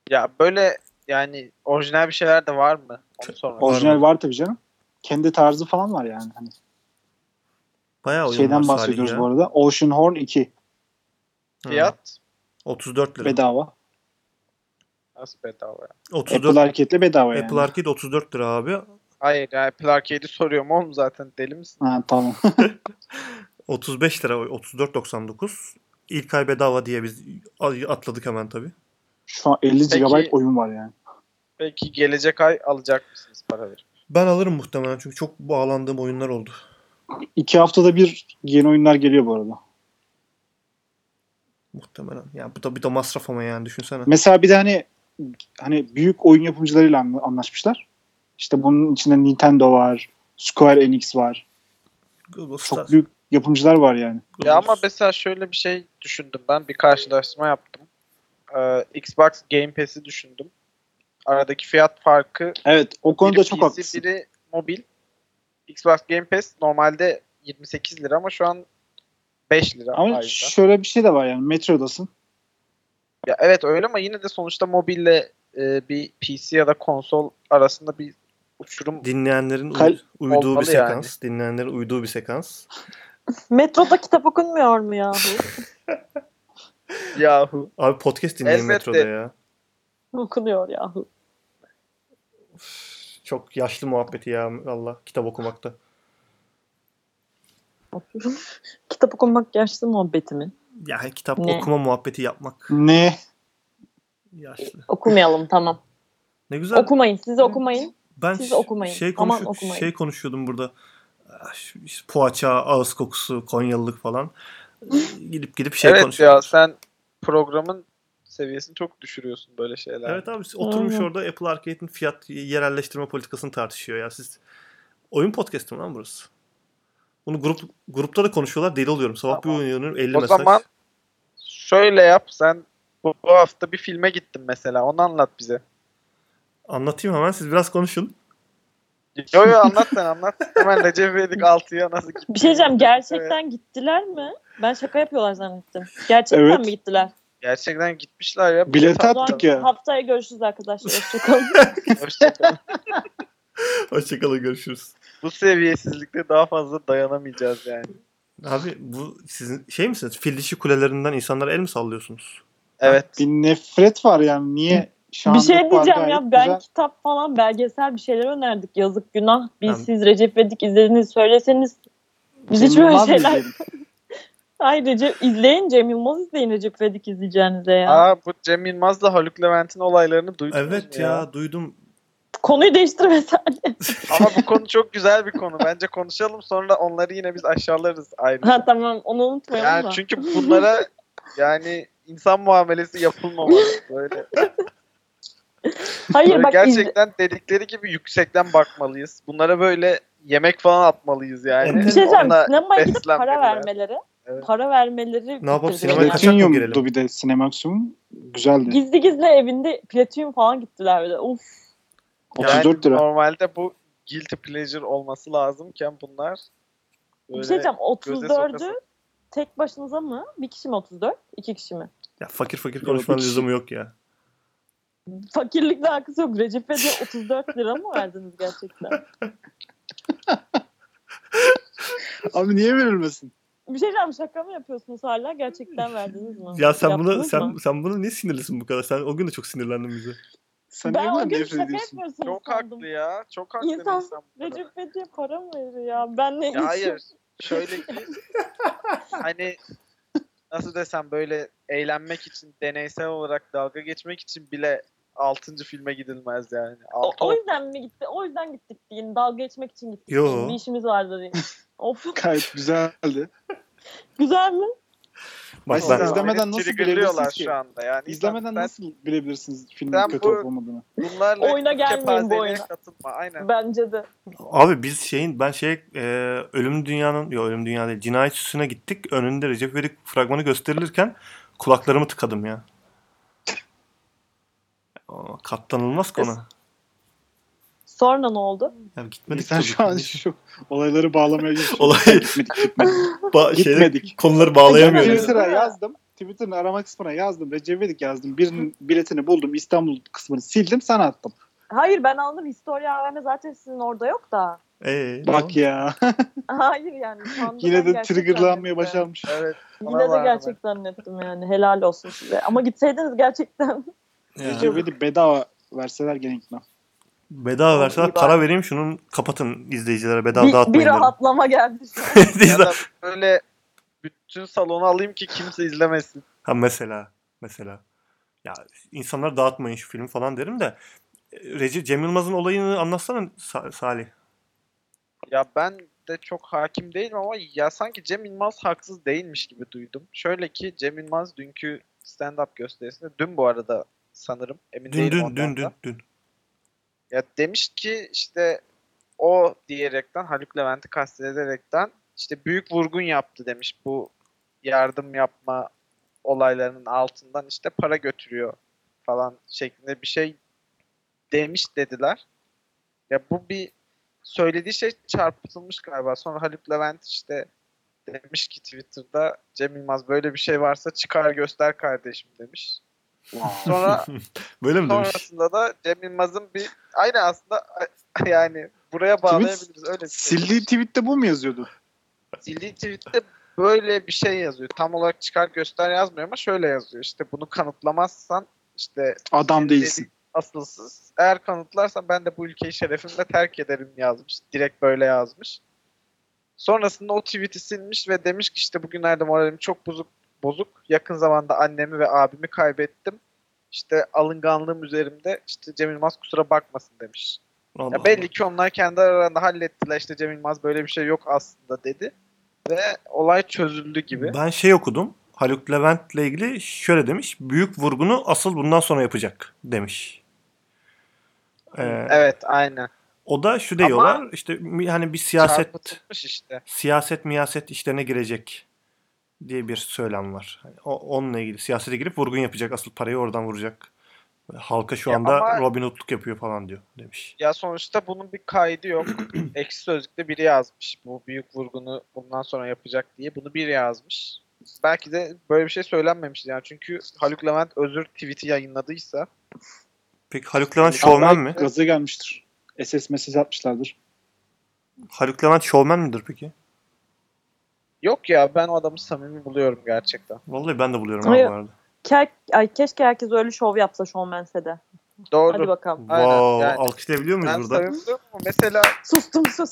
Ya böyle yani orijinal bir şeyler de var mı? Onu sormak.
Var
Orijinal
mı?
var tabii canım. Kendi tarzı falan var yani. Hani
Bayağı oyun var
şeyden
Salih
bahsediyoruz
ya.
bu arada. Ocean Horn 2
Hmm.
Fiyat
34 lira.
bedava.
nasıl bedava ya?
34
Apple Arcade'le bedava yani.
Apple Arcade 34 lira abi.
Hayır ya Apple Arcade'i soruyorum oğlum zaten deli misin?
Ha, tamam.
35 lira 34.99. İlk ay bedava diye biz atladık hemen tabii.
Şu an 50
Peki.
GB oyun var yani.
Peki gelecek ay alacak mısınız para verip?
Ben alırım muhtemelen çünkü çok bağlandığım oyunlar oldu.
İki haftada bir yeni oyunlar geliyor bu arada.
Muhtemelen. Yani bu da bir de masraf ama yani düşünsene.
Mesela bir de hani hani büyük oyun yapımcılarıyla anla- anlaşmışlar. İşte bunun içinde Nintendo var, Square Enix var.
Google
Çok
Star-
büyük yapımcılar var yani.
Google
Ya ama mesela şöyle bir şey düşündüm ben. Bir karşılaştırma yaptım. Ee, Xbox Game Pass'i düşündüm. Aradaki fiyat farkı
Evet, o konuda
biri
çok
PC,
haklısın.
biri mobil. Xbox Game Pass normalde 28 lira ama şu an 5 lira.
Ama
ayrıca.
şöyle bir şey de var yani. Metro'dasın.
Ya evet öyle ama yine de sonuçta mobille e, bir PC ya da konsol arasında bir uçurum
Dinleyenlerin uy-
Kal-
uyduğu bir
olmalı
sekans. Dinleyenlerin uyduğu bir sekans.
Metroda kitap okunmuyor mu yahu?
yahu.
Abi podcast dinleyin
Elbette.
metroda ya.
Okunuyor yahu.
Çok yaşlı muhabbeti ya Allah kitap okumakta.
kitap okumak yaşlı muhabbeti mi?
Yani kitap
Ne?
okuma muhabbeti yapmak
Ne?
yaşlı.
Okumayalım tamam.
Ne güzel.
Okumayın siz okumayın.
Ben
Siz
ş-
okumayın.
Şey,
Aman
konuşu-
okumayın.
şey konuşuyordum burada. Ah, şu- işte Poğaça, ağız kokusu, Konyalılık falan. gidip gidip şey
evet ya
konuşuyorduk.
sen programın seviyesini çok düşürüyorsun böyle şeyler.
Evet abi siz oturmuş
Aynen.
orada Apple Arcade'in fiyat yerelleştirme politikasını tartışıyor ya. Siz oyun podcast'ı mı lan burası? Bunu grup grupta da konuşuyorlar. Deli oluyorum. Sabah
Tamam.
bir uyanıyorum 50
O
mesaj.
zaman şöyle yap sen bu, bu hafta bir filme gittin mesela onu anlat bize.
Anlatayım hemen siz biraz konuşun.
Yo yo anlat sen anlat. Hemen Recep İvedik 6'ya nasıl gitti?
Bir şey diyeceğim gerçekten gittiler mi? Ben şaka yapıyorlar zannettim. Gerçekten
Evet.
mi gittiler?
Gerçekten gitmişler ya.
Bilet
O zaman
attık ya.
haftaya görüşürüz arkadaşlar. Hoşçakalın.
Hoşçakalın.
Hoşçakalın görüşürüz.
bu seviyesizlikte daha fazla dayanamayacağız yani.
Abi bu sizin şey misiniz? Fil dişi kulelerinden insanlara el mi sallıyorsunuz?
Evet.
Bir nefret var yani. Niye? Şu
bir
anda
şey
var
diyeceğim
gayet
ya ben
güzel.
kitap falan belgesel bir şeyler önerdik. Yazık günah. Biz
Ben-
siz Recep İvedik izlediniz söyleseniz biz hiç böyle
İnanılmaz bir
şeyler...
izleyelim.
Ay Recep izleyin Cem Yılmaz izleyin Recep İvedik izleyeceğinize ya.
Aa bu Cem Yılmaz'la Haluk Levent'in olaylarını duydunuz
Evet
mu
ya, duydum.
Konuyu değiştirmesen.
Ama bu konu çok güzel bir konu. Bence konuşalım sonra onları yine biz aşağılarız ayrıca.
Ha tamam onu unutmayalım
Yani
da.
çünkü bunlara yani insan muamelesi yapılmamalı böyle.
Hayır bak izle-
gerçekten dedikleri gibi yüksekten bakmalıyız. Bunlara böyle yemek falan atmaya yani.
bir şey söyleyeceğim.
Onunla
Sinemaya gidip para
beslenmeliler.
vermeleri.
Evet.
Para vermeleri.
Ne yapalım,
bitirdi
sinemaya
beni.
kaç- Kaçak mı
Platinum'du
girelim?
bir de Cinemaximum. Güzeldi.
Gizli gizli evinde platinum falan gittiler böyle. Uf. şey
34 lira.
Normalde bu guilty pleasure olması lazımken bunlar
Bir
böyle
şey diyeceğim.
göze
34'ü
sokasın.
tek başınıza mı? Bir kişi mi 34? İki kişi mi?
Ya fakir fakir
Yok,
konuşmanın
hiç.
lüzumu yok ya.
Fakirlikle alakası yok. Recep Bey'e 34 lira mı verdiniz gerçekten?
Abi niye verilmesin?
Bir şey diyeceğim şaka mı yapıyorsunuz hala? Gerçekten verdiniz mi?
Ya sen bunu
Yaptınız
sen
mı?
sen bunu niye sinirlisin bu kadar? Sen o gün de çok sinirlendin bize.
Sen
ben
niye
o
bundan
gün
nefret
şaka
ediyorsun?
yapıyorsunuz
Çok
sandım.
haklı ya. Çok haklı
İnsan-
insan. bu konuda.
Recep Bey'e para mı veriyor ya? Ben ne
Ya hayır. Şöyle ki hani nasıl desem böyle eğlenmek için deneysel olarak dalga geçmek için bile 6. filme gidilmez yani.
O,
Altı
o yüzden mi gitti? O yüzden gittik diyin. Dalga geçmek için gittik.
Yo.
diyin. Bir işimiz vardı diye. of
Gayet güzeldi.
güzel mi?
Bak
Siz
ben
izlemeden
Beni
nasıl
triggerlıyorlar
bilebilirsiniz ki?
şu anda yani.
İzlemeden
sen,
nasıl bilebilirsiniz filmin
Ben
kötü
bu-
olup olmadığını?
Bunlarla
Oyuna gelmeyin bu
kepazeliğe
oyuna.
katılma. Aynen.
Bence de.
Abi biz şeyin ben şey e, ölüm dünyanın yok ölüm dünya değil cinayet süsüne gittik. Önünde Recep İvedik fragmanı gösterilirken kulaklarımı tıkadım ya. Aa, katlanılmaz konu.
Sonra ne oldu?
Ya gitmedik
Sen
tabii.
şu an şu olayları bağlamaya geçiyorsun.
Olay
Gitmedik gitmedik.
ba- şeyde
Gitmedik.
konuları bağlayamıyorum.
Gitmedik.
Twitter'a yazdım. Twitter'ın arama kısmına yazdım. Recep İvedik yazdım. Birinin biletini buldum. İstanbul kısmını sildim sana attım.
Hayır ben aldım. Historia AVM zaten sizin orada yok da.
Ee,
Bak ya.
Hayır yani. sandım
Yine
ben
de
gerçek
triggerlanmaya
zannettim.
başarmış.
Evet. bana
Yine de
var
gerçek zannettim yani. Helal olsun size. Ama gitseydiniz gerçekten.
ya.
Recep İvedik bedava verseler gene gitmem.
Bedava verseler
İyi
para
bari.
vereyim şunun kapatın izleyicilere bedava
bir, bir
dağıtmayın derim.
rahatlama geldi şu an.
Ya
İzle-
da böyle bütün salonu alayım ki kimse izlemesin.
ha mesela mesela ya insanlar dağıtmayın şu filmi falan derim de e, Recep Cem Yılmaz'ın olayını anlatsana Sa- Salih.
Ya ben de çok hakim değilim ama ya sanki Cem Yılmaz haksız değilmiş gibi duydum. Şöyle ki Cem Yılmaz dünkü stand-up gösterisinde dün bu arada sanırım emin
Dün
değilim
dün
ondan
dün
da.
dün dün.
Ya demiş ki işte o diyerekten Haluk Levent'i kastederekten işte büyük vurgun yaptı demiş bu yardım yapma olaylarının altından işte para götürüyor falan şeklinde bir şey demiş dediler. Ya bu bir söylediği şey çarpıtılmış galiba. Sonra Haluk Levent işte demiş ki Twitter'da Cem Yılmaz böyle bir şey varsa çıkar göster kardeşim demiş. Sonra
Böyle mi demiş?
Sonrasında da Cem Yılmaz'ın bir aynı aslında yani buraya bağlayabiliriz öyle bir şey.
Sildiği tweette bu mu yazıyordu?
Sildiği tweette böyle bir şey yazıyor. Tam olarak çıkar göster yazmıyor ama şöyle yazıyor. İşte bunu kanıtlamazsan işte
Adam
senin
değilsin.
dediğin asılsız. Eğer kanıtlarsan ben de bu ülkeyi şerefimle terk ederim yazmış. Direkt böyle yazmış. Sonrasında o tweet'i silmiş ve demiş ki işte bugünlerde moralim çok bozuk bozuk. Yakın zamanda annemi ve abimi kaybettim. İşte alınganlığım üzerimde. İşte Cem Yılmaz kusura bakmasın demiş.
Allah
Ya belli
Allah.
ki onlar kendi aralarında hallettiler. İşte Cem Yılmaz böyle bir şey yok aslında dedi. Ve olay çözüldü gibi.
Ben şey okudum. Haluk Levent'le ilgili şöyle demiş. Büyük vurgunu asıl bundan sonra yapacak demiş. Ee,
Evet aynen.
O da şu
Ama-
diyorlar işte mi- hani bir siyaset
Çarpıtılmış işte.
siyaset miyaset işlerine girecek diye bir söylem var. Hani o, onunla ilgili siyasete girip vurgun yapacak. Asıl parayı oradan vuracak. Halka şu
Ya
anda
ama-
Robin Hood'luk yapıyor falan diyor demiş.
Ya sonuçta bunun bir kaydı yok. Eksi sözlükte biri yazmış. Bu büyük vurgunu bundan sonra yapacak diye. Bunu biri yazmış. Belki de böyle bir şey söylenmemişti yani. Çünkü Haluk Levent özür tweet'i yayınladıysa
Peki Haluk Levent
Yani-
şovmen
Belki
mi?
Gaza gelmiştir. SS mesaj atmışlardır.
Haluk Levent şovmen midir peki?
yok ya ben o adamı samimi buluyorum gerçekten.
Vallahi ben de buluyorum ha bu
Hayır.
arada.
Ke- Ay, keşke herkes öyle şov yapsa şovmense de. Hadi
Doğru.
bakalım.
Aynen,
Wow,
yani.
alkışlayabiliyor muyuz
Ben
burada?
samimi buluyorum ama mesela
Sustum sus.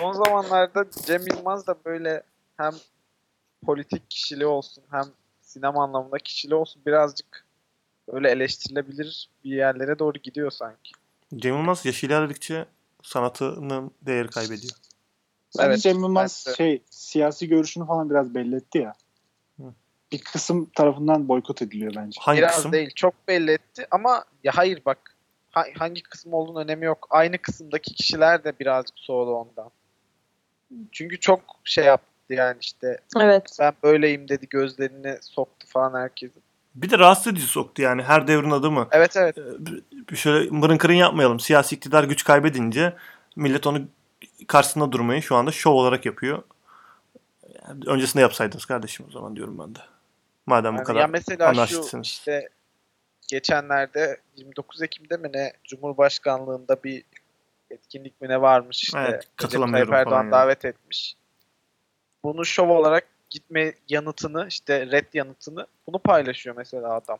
son zamanlarda Cem Yılmaz da böyle hem politik kişiliği olsun hem sinema anlamında kişiliği olsun birazcık öyle eleştirilebilir bir yerlere doğru gidiyor sanki.
Cem Yılmaz yaş ilerledikçe sanatının değeri kaybediyor.
Bence
Evet,
Cem Yılmaz
bence de.
şey siyasi görüşünü falan biraz belli etti ya.
Hı.
bir kısım tarafından boykot ediliyor bence.
Hangi
Biraz
kısım?
değil. Çok belli etti ama ya hayır bak ha- hangi kısım olduğunun önemi yok. Aynı kısımdaki kişiler de birazcık soğudu ondan. Çünkü çok şey yaptı yani işte
Evet.
ben böyleyim dedi gözlerini soktu falan herkesin.
Bir de rahatsız edici soktu yani her devrin adımı.
Evet evet.
Ee, bir- Şöyle mırın kırın yapmayalım. Siyasi iktidar güç kaybedince millet onu karşısında durmayı şu anda şov olarak yapıyor. Yani öncesinde yapsaydınız kardeşim o zaman diyorum ben de. Madem bu
Yani
kadar
ya mesela şu
anarşistsiniz.
işte geçenlerde 29 Ekim'de mi ne Cumhurbaşkanlığında bir etkinlik mi ne varmış işte.
Evet,
Recep
katılamıyorum
Tayyip Erdoğan
falan yani.
davet etmiş. Bunu şov olarak gitme yanıtını işte red yanıtını bunu paylaşıyor mesela adam.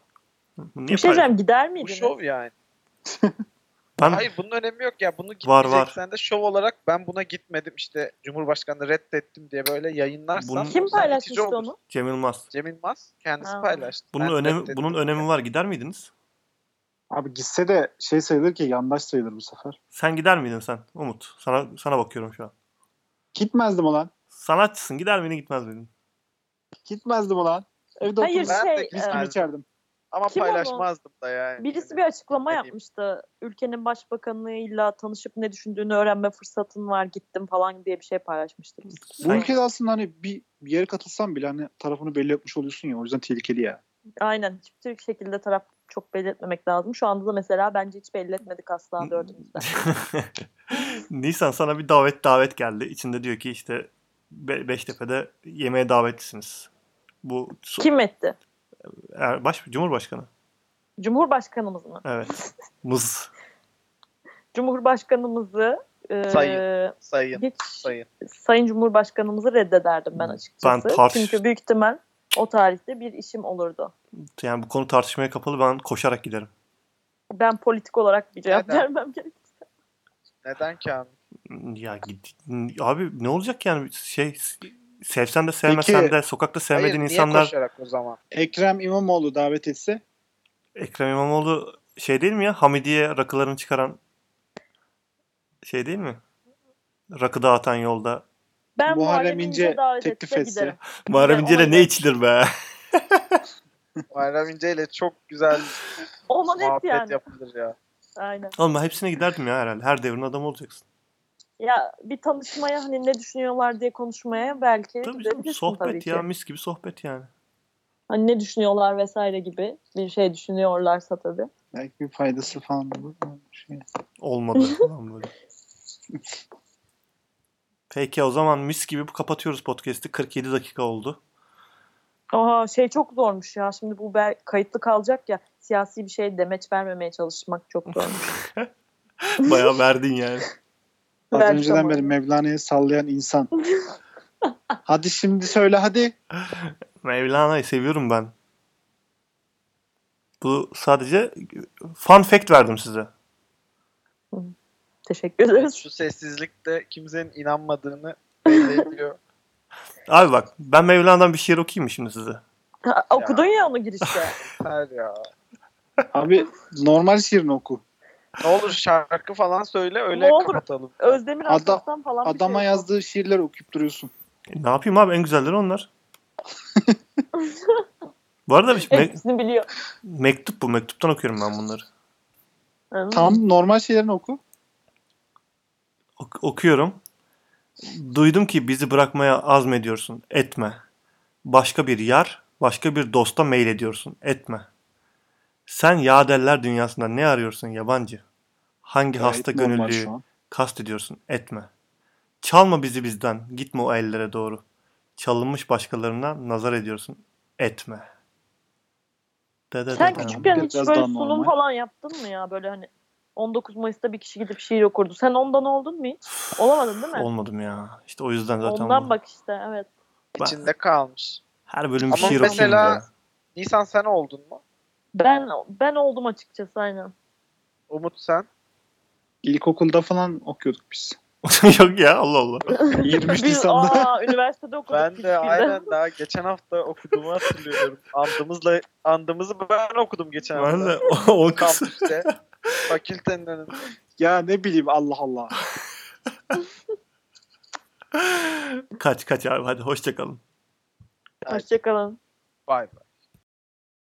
Niye
Bir şey
pay-
diyeceğim gider
Bu
miydiniz?
şov yani.
ben
Hayır bunun önemi yok ya. Bunu
Var, var.
gitmeyeceksen de şov olarak ben buna gitmedim işte Cumhurbaşkanı reddettim diye böyle yayınlarsan.
Bunun-
sen
Kim
itici
paylaşmıştı
olursun.
onu?
Cem Yılmaz.
Cem Yılmaz kendisi
Ha.
paylaştı.
Bunun
Ben
önemi
reddettim
bunun
diye.
önemi var. Gider miydiniz?
Abi gitse de şey sayılır ki yandaş sayılır bu sefer.
Sen gider miydin sen? Umut. Sana sana bakıyorum şu an.
Gitmezdim olan.
Sanatçısın. Gider miydin gitmez miydin?
Gitmezdim olan. Evde
Hayır
oturup
Ben de
şey
gitmez.
e,
viskimi içerdim.
Ama
Kim ama?
paylaşmazdım da yani.
birisi bir
Hani
açıklama
ne diyeyim?
yapmıştı. Ülkenin başbakanıyla tanışıp ne düşündüğünü öğrenme fırsatın var gittim falan diye bir şey paylaşmıştı.
Bu
Sen,
ülkede aslında hani bir, bir yere katılsan bile hani tarafını belli etmiş oluyorsun ya o yüzden tehlikeli ya.
Aynen. Hiçbir şekilde taraf çok belli etmemek lazım. Şu anda da mesela bence hiç belli etmedik
Hmm.
asla dördümüzde.
Nisan sana bir davet davet geldi. İçinde diyor ki işte Be- Beştepe'de yemeğe davetlisiniz. Bu so-
Kim etti?
Er- baş Cumhurbaşkanı.
Cumhurbaşkanımız mı?
Evet. Mız.
Cumhurbaşkanımızı e,
Sayın. Sayın.
hiç
Sayın. Hmm.
Sayın Cumhurbaşkanımızı reddederdim ben açıkçası.
Ben tartış-
Çünkü büyük ihtimal o tarihte bir işim olurdu.
Yani bu konu tartışmaya kapalı. Ben koşarak giderim.
Ben politik olarak bir cevap
Neden?
vermem gerek.
Neden ki abi?
Ya git, abi ne olacak yani şey sevsen de sevmesen
Peki-
de sokakta
Hayır
sevmediğin
niye
insanlar
koşarak o zaman?
Ekrem İmamoğlu davet etse
Ekrem İmamoğlu şey değil mi ya? Hamidiye rakılarını çıkaran şey değil mi? Rakı dağıtan yolda.
Ben
Muharrem
Muharrem İnce
İnce
davet
teklif
etse
etse.
giderim.
Muharrem
Ve
İnce'yle
ona
ne
da-
içilir be?
Muharrem İnce ile çok güzel
Ona net
muhabbet
yani.
yapılır ya.
Aynen.
Oğlum ben hepsine giderdim ya herhalde. Her devrin adamı olacaksın.
Ya bir tanışmaya hani ne düşünüyorlar diye konuşmaya belki
Tabii canım
gidebilirsin tabii
sohbet
ki.
ya mis gibi sohbet yani.
Hani ne düşünüyorlar vesaire gibi bir şey düşünüyorlarsa tabii.
belki bir faydası falan olur. Şey.
Olmadı falan böyle. Peki o zaman mis gibi bu- kapatıyoruz podcast'i. 47 dakika oldu.
Aa şey çok zormuş ya. Şimdi bu bel- kayıtlı kalacak ya. Siyasi bir şey demeç vermemeye çalışmak çok zormuş.
Bayağı verdin yani.
Az
Belki
önceden
ama-
beri Mevlana'yı sallayan insan. hadi şimdi söyle hadi.
Mevlana'yı seviyorum ben. Bu sadece fun fact verdim size.
Teşekkür ederiz.
Şu sessizlikte kimsenin inanmadığını belli ediyor.
Abi bak ben Mevlana'dan bir şiir okuyayım mı şimdi size?
Ha, okudun ya onu girişte.
Her ya.
Abi normal şiirini oku.
Ne olur şarkı falan söyle öyle
Ne olur.
kapatalım.
Özdemir
Adam-
Aslan falan bir
Adama
şey yok.
yazdığı şiirleri okuyup duruyorsun.
E, ne yapayım abi en güzelleri onlar. bu arada bir- me-
Eh, Hepsini biliyor.
mektup bu. Mektuptan okuyorum ben bunları.
Anladın mı?
Tam normal şeylerini oku.
Ok- okuyorum. Duydum ki bizi bırakmaya azmediyorsun. Etme. Başka bir yar, başka bir dosta mail ediyorsun. Etme. Sen yadeller dünyasında ne arıyorsun yabancı? Hangi
Gayet
hasta
normal
gönüllüyü
şu an.
kast ediyorsun? Etme. Çalma bizi bizden. Gitme o ellere doğru. Çalınmış başkalarına nazar ediyorsun. Etme. Da da da
Sen
da.
küçükken hiç
Biraz
böyle
daha
sunum
normal.
falan yaptın mı ya? Böyle hani 19 Mayıs'ta bir kişi gidip şiir okurdu. Sen ondan oldun mu hiç? Olamadın değil mi?
Olmadım ya. İşte o yüzden zaten
ondan
bu-
bak işte evet.
Ben-
İçinde kalmış.
her bölüm bir
Ama
şiir okuyayım
mesela-
ya.
Nisan sen oldun mu?
Ben ben oldum açıkçası aynen.
Umut sen.
İlkokulda falan okuyorduk biz.
Yok ya Allah Allah.
23
Biz
Nisan'da.
aa üniversitede okuduk.
Ben
biz
de
birden.
aynen daha geçen hafta okuduğumu hatırlıyorum. Andımızla andımızı ben okudum geçen hafta.
Ben de o, o kısım.
Kampüste. Fakültenin önünde.
ya ne bileyim Allah Allah.
kaç kaç abi hadi hoşçakalın.
Hoşçakalın.
Bay bay.